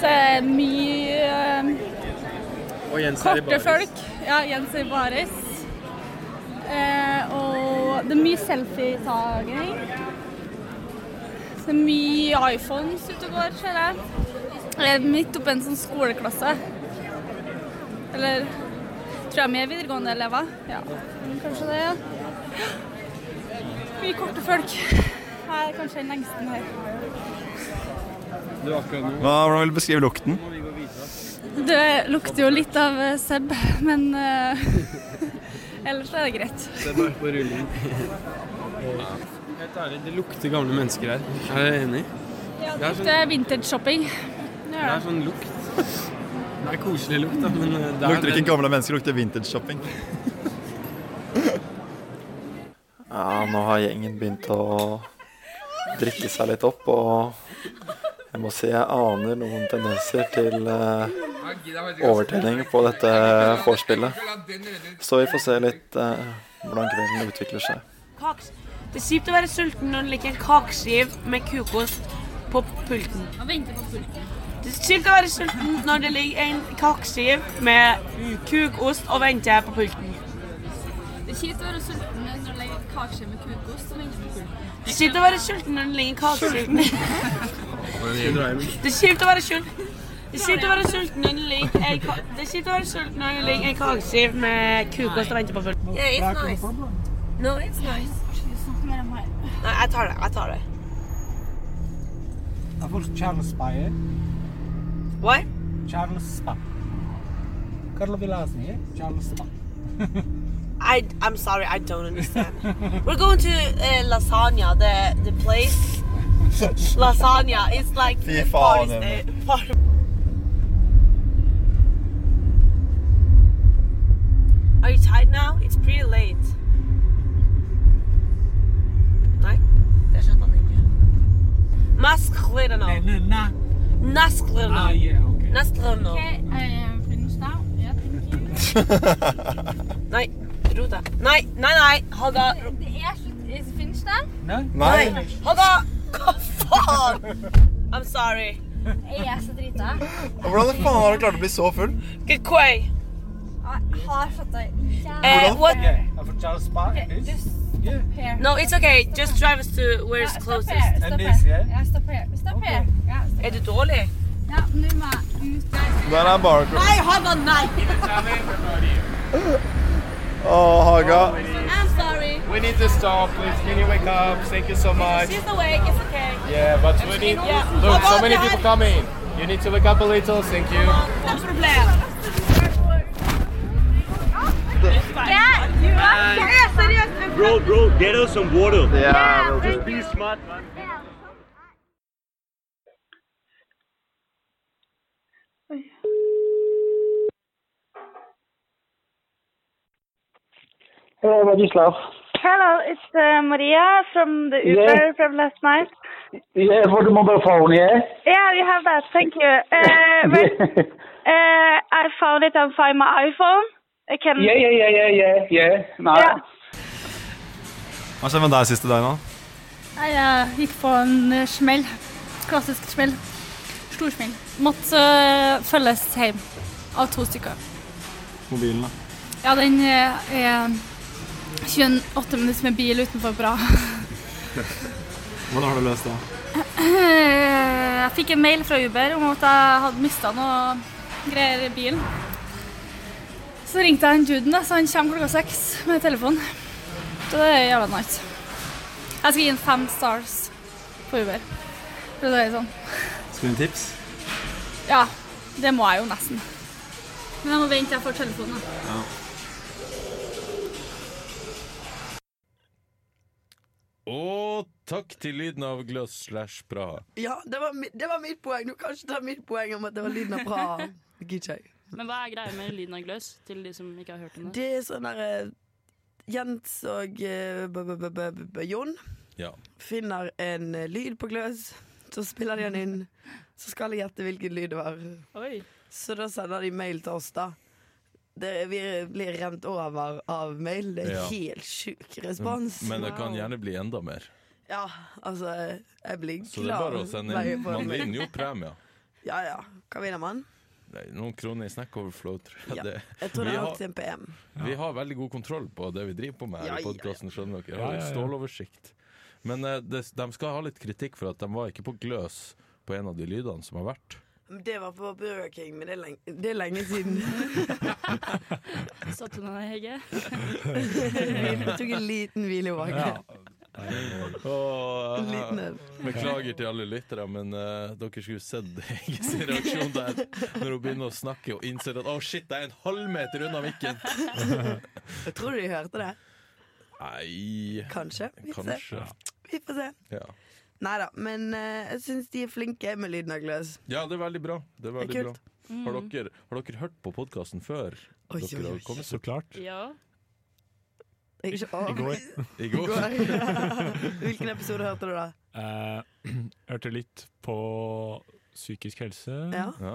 Så er det mye eh,
Og Jens er i
korte
baris.
folk. Ja, Jens er i baris. Eh, og det er mye selfietaging. Det er mye iPhones ute og går, ser jeg. Jeg er midt oppe i en sånn skoleklasse. Eller tror jeg vi er videregående elever. Ja, kanskje det. ja. Mye korte folk. Jeg er kanskje den lengste her.
Du akkurat nå.
Hva, hvordan vil du beskrive lukten?
Det lukter jo litt av eh, Seb, men eh, ellers er det greit.
Se bare på rulling. Helt ærlig, det lukter gamle mennesker her. Er dere enig?
Det
er sånn,
lukter vintage-shopping.
det er sånn lukt. Det er koselig lukt, da, men eh, det er
Lukter ikke gamle mennesker, lukter vintage-shopping.
Ja, nå har gjengen begynt å drikke seg litt opp, og jeg må si jeg aner noen tendenser til eh, overtenning på dette vorspielet. Så vi får se litt eh, hvordan kvelden utvikler seg.
Kaks. Det er kjipt å være sulten når du liker en kakeskiv med kukost på pulten. Det er kjipt å være sulten når det ligger en kakeskiv med kukost og venter på pulten.
Det er kjipt å være sulten når du legger kakeskje med kukost og venter på pulten.
Det er kjipt å være sulten når det ligger en kakeskiv Det er kjipt å være sulten. Det er kjipt å være sulten når det ligger en ka- det er kjipt å være sulten når det ligger en kakeskiv med kukost og Eh, venter på pulten. No, it's nice. Nei, jeg tar det. Jeg tar det.
Jeg får Charles Spa, eh?
Hva?
Charles Spa. Carlo Vilasni, eh? Charles Spa.
I, I'm sorry, I don't understand. We're going to uh, Lasagna, the the place. Lasagna, it's like
Fy
a
faen,
party
Emil.
sta- party. Are you tired now? It's pretty late. Nei, det skjønte han ikke. Mascherano. Nascherano.
Ah, yeah, okay.
Nascherano.
Okay, I finished now. Yeah, thank you.
Nei, ro deg. Nei, nei, nei, Haga.
Det er slutt. Is it finished now?
Nei.
Haga, hva faen? I'm sorry.
Jeg er så drita.
Hvordan faen har du klart å bli så full?
Good quay.
Jeg har fått det
Eh, what?
Jeg får Charles Spa,
Just here.
No, it's okay. Just drive us to where it's closest.
Stopp her. Stopp her. Ja, stopp her. Stopp her. Ja, stopp
Er du dårlig?
her. Ja, nå må jeg ut.
Den er bare
Nei, Hanna, nei!
Åh, Haga.
I'm sorry.
We need to stop, please. Can you wake up? Thank you so much.
She's awake. It's okay.
Yeah, but we need.
Yeah.
Look,
Come
so
on,
many
Dad.
people coming. You need to wake up a little. Thank you.
No problem.
Yeah, you are. Yeah, seriøst.
Bro, bro, get us some water.
Yeah, we'll
just be smart, man.
Hello, Vladislav.
Hello, it's uh, Maria from the Uber
Yeah.
from last night.
Yeah, for the mobile phone, yeah?
Yeah, we have that. Thank you. Uh, wait, uh, I found it and find my iPhone. I can.
Yeah, yeah, yeah, yeah, yeah, yeah. No.
Yeah.
Hva skjer med deg siste døgnet?
Nei, jeg gikk på en eh, smell. Klassisk smell. Stor smell. Måtte eh, følges hjem av to stykker.
Mobilen, da.
Ja, den eh, er 28 minutter med bil utenfor bra.
Hvordan har du løst det?
Jeg fikk en mail fra Uber om at jeg hadde mista noe greier i bilen. Så ringte jeg han duden, da, så han kommer klokka seks med telefon. Så det er jævla nice. Jeg skal gi en fem stars på Uber. For å si det sånn.
Skal du gi en tips?
Ja, det må jeg jo nesten. Men jeg må vente til jeg får telefonen. da.
Ja.
Og takk til lyden av Gløs slash Praha.
Ja, det var, mi- det var mitt poeng. Du kan ikke ta mitt poeng om at det var lyden av bra. Det gidder ikke jeg.
Men hva er greia med lyden av gløs, til de som ikke har hørt om det?
Det er sånn derre Jens og eh, b- b- b- b- b- Jon
Ja.
finner en eh, lyd på gløs. Så spiller de den inn. Så skal jeg gjette hvilken lyd det var. Så da sender de mail til oss, da. Det, vi blir rent over av mail. Det er
Ja.
helt sjuk respons.
Men det kan gjerne bli enda mer.
Ja, altså Jeg blir glad.
Så det er bare å sende
hver gang
inn.
jeg får en
Man
mail.
vinner jo premier.
Ja ja. Hva vinner man?
Nei, Noen kroner i Snack Overflow, tror jeg.
Ja.
Det.
Jeg tror
Vi
det er
har-
nok til en PM.
Vi har veldig god kontroll på det vi driver på med
Ja,
her
ja,
i podkasten, skjønner dere. Jeg
Ja,
har
ja, ja.
litt ståloversikt. Men eh, det, de skal ha litt kritikk for at de var ikke på gløs på en av de lydene som har vært.
Det var på Burger King, men det er lenge, det er lenge siden.
Satt hun av deg, Hege?
Vi tok en liten hvile bak.
Åh,
En liten
eh,
øl.
beklager til alle lyttere, men eh, dere skulle sett Heges reaksjon der når hun begynner å snakke og innser at å shit, jeg er en halvmeter unna mikken.
Jeg tror de hørte det.
Nei
Kanskje. Vi får
Kanskje.
se. Vi får se.
Ja.
Nei da, men eh, jeg syns de er flinke med lyden av gløs.
ja, det er veldig bra. Det er
Det
veldig
er
bra.
kult. Mm.
Har dere, har dere hørt på podkasten før?
Oi, oi,
Dere
oi.
har kommet så klart.
Ja.
Jeg er ikke overbevist.
I går.
Hvilken episode hørte du da?
Eh, hørte litt på psykisk helse.
Ja.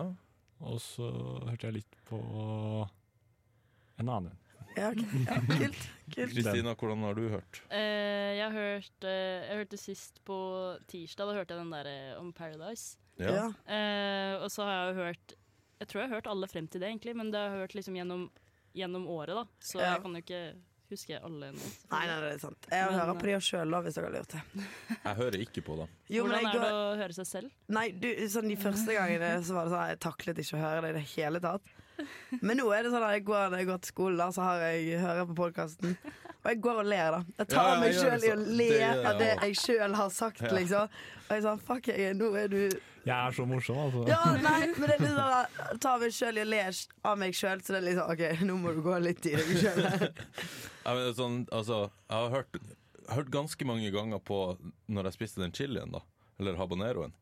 Og så hørte jeg litt på en annen.
Ja, ok. Ja, kult. kult.
Kristina, hvordan har du hørt?
Eh, jeg, har hørt, eh, jeg hørte sist på tirsdag, da hørte jeg den der eh, om Paradise.
Ja. Ja.
Eh, og så har jeg jo hørt Jeg tror jeg har hørt alle frem til det, egentlig, men det har jeg hørt liksom gjennom, gjennom året, da. Så
Ja.
jeg kan jo ikke huske alle nå.
Nei, nei, det er sant. Jeg
Men,
hører på de sjøl òg, hvis dere har lurt det.
Jeg hører ikke på dem.
Jo, men jeg
Hvordan er det
går-
å høre seg selv?
Nei, du, sånn De første gangene så var det sånn jeg taklet ikke å høre det i det hele tatt. Men nå er det sånn at jeg går, når jeg går til skolen, da, så har jeg, hører jeg på podkasten. Og jeg går og ler, da. Jeg tar
Ja, jeg
meg
gjør
sjøl
det
i å
så-
le
det gjør jeg
av det
også.
jeg sjøl har sagt,
Ja.
liksom. Og jeg sånn Fuck, jeg, nå er du
Jeg er så morsom, altså.
Ja, nei, men det er litt sånn at jeg tar meg sjøl i å le av meg sjøl, så det er liksom OK, nå må du gå litt i deg sjøl.
Jeg, mener, sånn, altså, jeg har hørt, hørt ganske mange ganger på når jeg spiste den chilien, da. Eller habaneroen.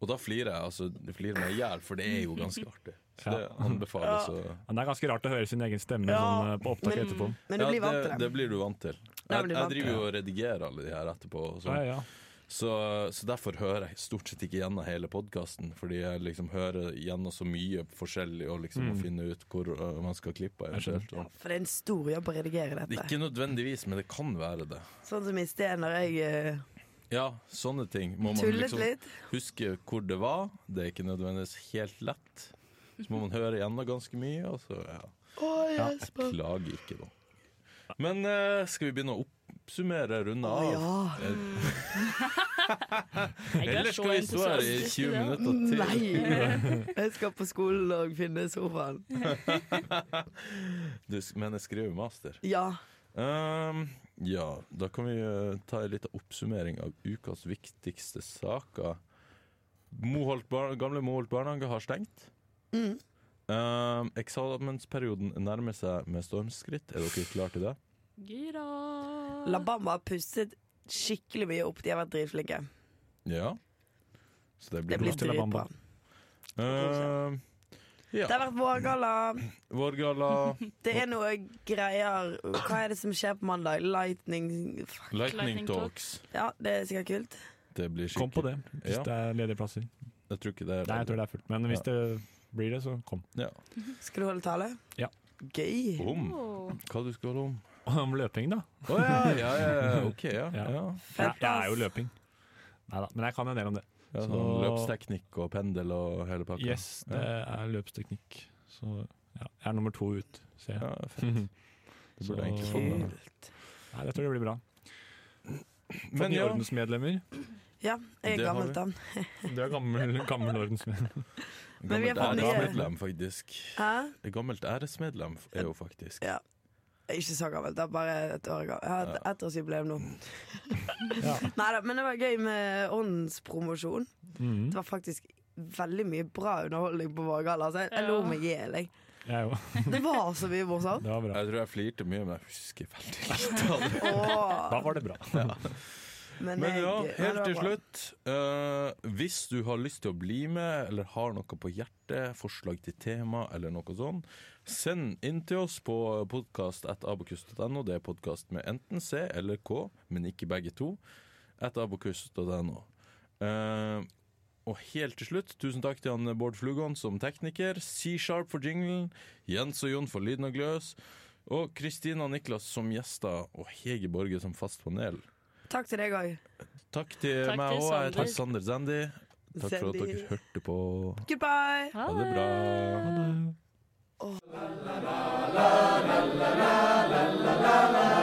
Og da flirer jeg altså, jeg flirer meg i hjel, for det er jo ganske artig. Så det anbefales å
Men det er ganske rart å høre sin egen stemme
Ja,
sånn, eh, på opptak
men-
etterpå.
men du Ja, blir vant det- til dem. det blir du vant til.
Ja,
Jeg,
men du
jeg
vant
driver
det.
jo og redigerer alle de her etterpå. Og sånn.
Ja, ja.
Så, så derfor hører jeg stort sett ikke gjennom hele podkasten, fordi jeg liksom hører gjennom så mye forskjellig og liksom
Mm.
må finne ut hvor øh, man skal klippe. eventuelt. Sånn.
For det er en stor jobb å redigere
Det er
dette.
Ikke nødvendigvis, men det kan være det.
Sånn som i sted når jeg eh,
Ja, sånne ting må man
Tullet
liksom
litt.
huske hvor det var. Det er ikke nødvendigvis helt lett. Så må man høre gjennom ganske mye, og så ja.
Å, jeg
ja
er
jeg
spent.
klager ikke, da. Men eh, skal vi begynne å opp oppsummere, runde
Å,
av.
ja.
Eh, Ellers skal vi stå her i 20 minutter til.
Nei! Jeg skal på skolen og finne sofaen.
Du s- men jeg skriver master.
Ja.
Ehm, ja, da kan vi eh, ta en liten oppsummering av ukas viktigste saker. Moholt bar gamle Moholt barnehage har stengt.
Mm.
Ehm, eksamensperioden nærmer seg med stormskritt. Er dere klare til det?
Gira.
La Bamba har pustet skikkelig mye opp. De har vært dritflinke.
Ja. Så det blir,
Det blir
bra.
dritbra.
Ehm, ja.
Det har vært vårgalla.
Vårgalla
Det er noe greier. Hva er det som skjer på mandag? Lightning fuck.
Lightning Talks.
Ja, det er sikkert kult.
Det blir skikkelig.
Kom på det, hvis
Ja.
det er ledige plasser.
Jeg tror ikke det er
Nei, jeg tror det er fullt. Men hvis
Ja.
det blir det, så kom.
Ja.
Skal du holde tale?
Ja.
Gøy.
Om hva du skal holde om?
Om løping, da.
Å ja, ja, ja, ja, ok, ja, ja.
Jeg, jeg er jo løping. Nei da, men jeg kan en del om det.
Ja, sånn løpsteknikk og pendel og hele pakka.
Yes, det er løpsteknikk. Så ja, jeg er nummer to ut, ser jeg.
Ja, fett. Det burde jeg egentlig få med meg.
Nei, jeg tror det blir bra. Fått
Men
nye
ja.
ordensmedlemmer.
Ja, jeg er
Det har
gammel
vi.
da.
Du er gammel, gammel ordensmedlem.
Men vi har fått
Gammelt
nye-
æresmedlem, faktisk.
Hæ?
Et Gammelt æresmedlem er jo faktisk.
Ja. Jeg er Ikke så gammel, det er bare et år gammel. Jeg har et ettårsjubileum nå. Neida, men det var gøy med åndspromosjon.
Mhm.
Det var faktisk veldig mye bra underholdning på Vårgalla. Altså, jeg, jeg lo meg i hjel, jeg.
Jeg òg.
Det var så mye morsomt.
Jeg tror jeg flirte mye, men jeg husker veldig lite av det.
Åh.
Da var det bra.
Men,
Men
jeg,
ja,
men
helt
det
til
var bra.
slutt. eh, hvis du har lyst til å bli med, eller har noe på hjertet, forslag til tema eller noe sånn, send inn til oss på podkast.abokus.no. Det er podkast med enten C eller K, men ikke begge to. At abokus.no. Eh, og helt til slutt, tusen takk til han Bård Flugon som tekniker, C-Sharp for jinglen, Jens og Jon for lyden og gløs, og Kristina og Niklas som gjester, og Hege Borge som fast panel.
Takk til deg òg.
Takk til
Takk
meg
til
òg. Jeg heter
Sander.
Sander Zandy. Takk for at
Zandy.
dere hørte på.
Goodbye.
Ha det bra.
Åh.
La la la la la la la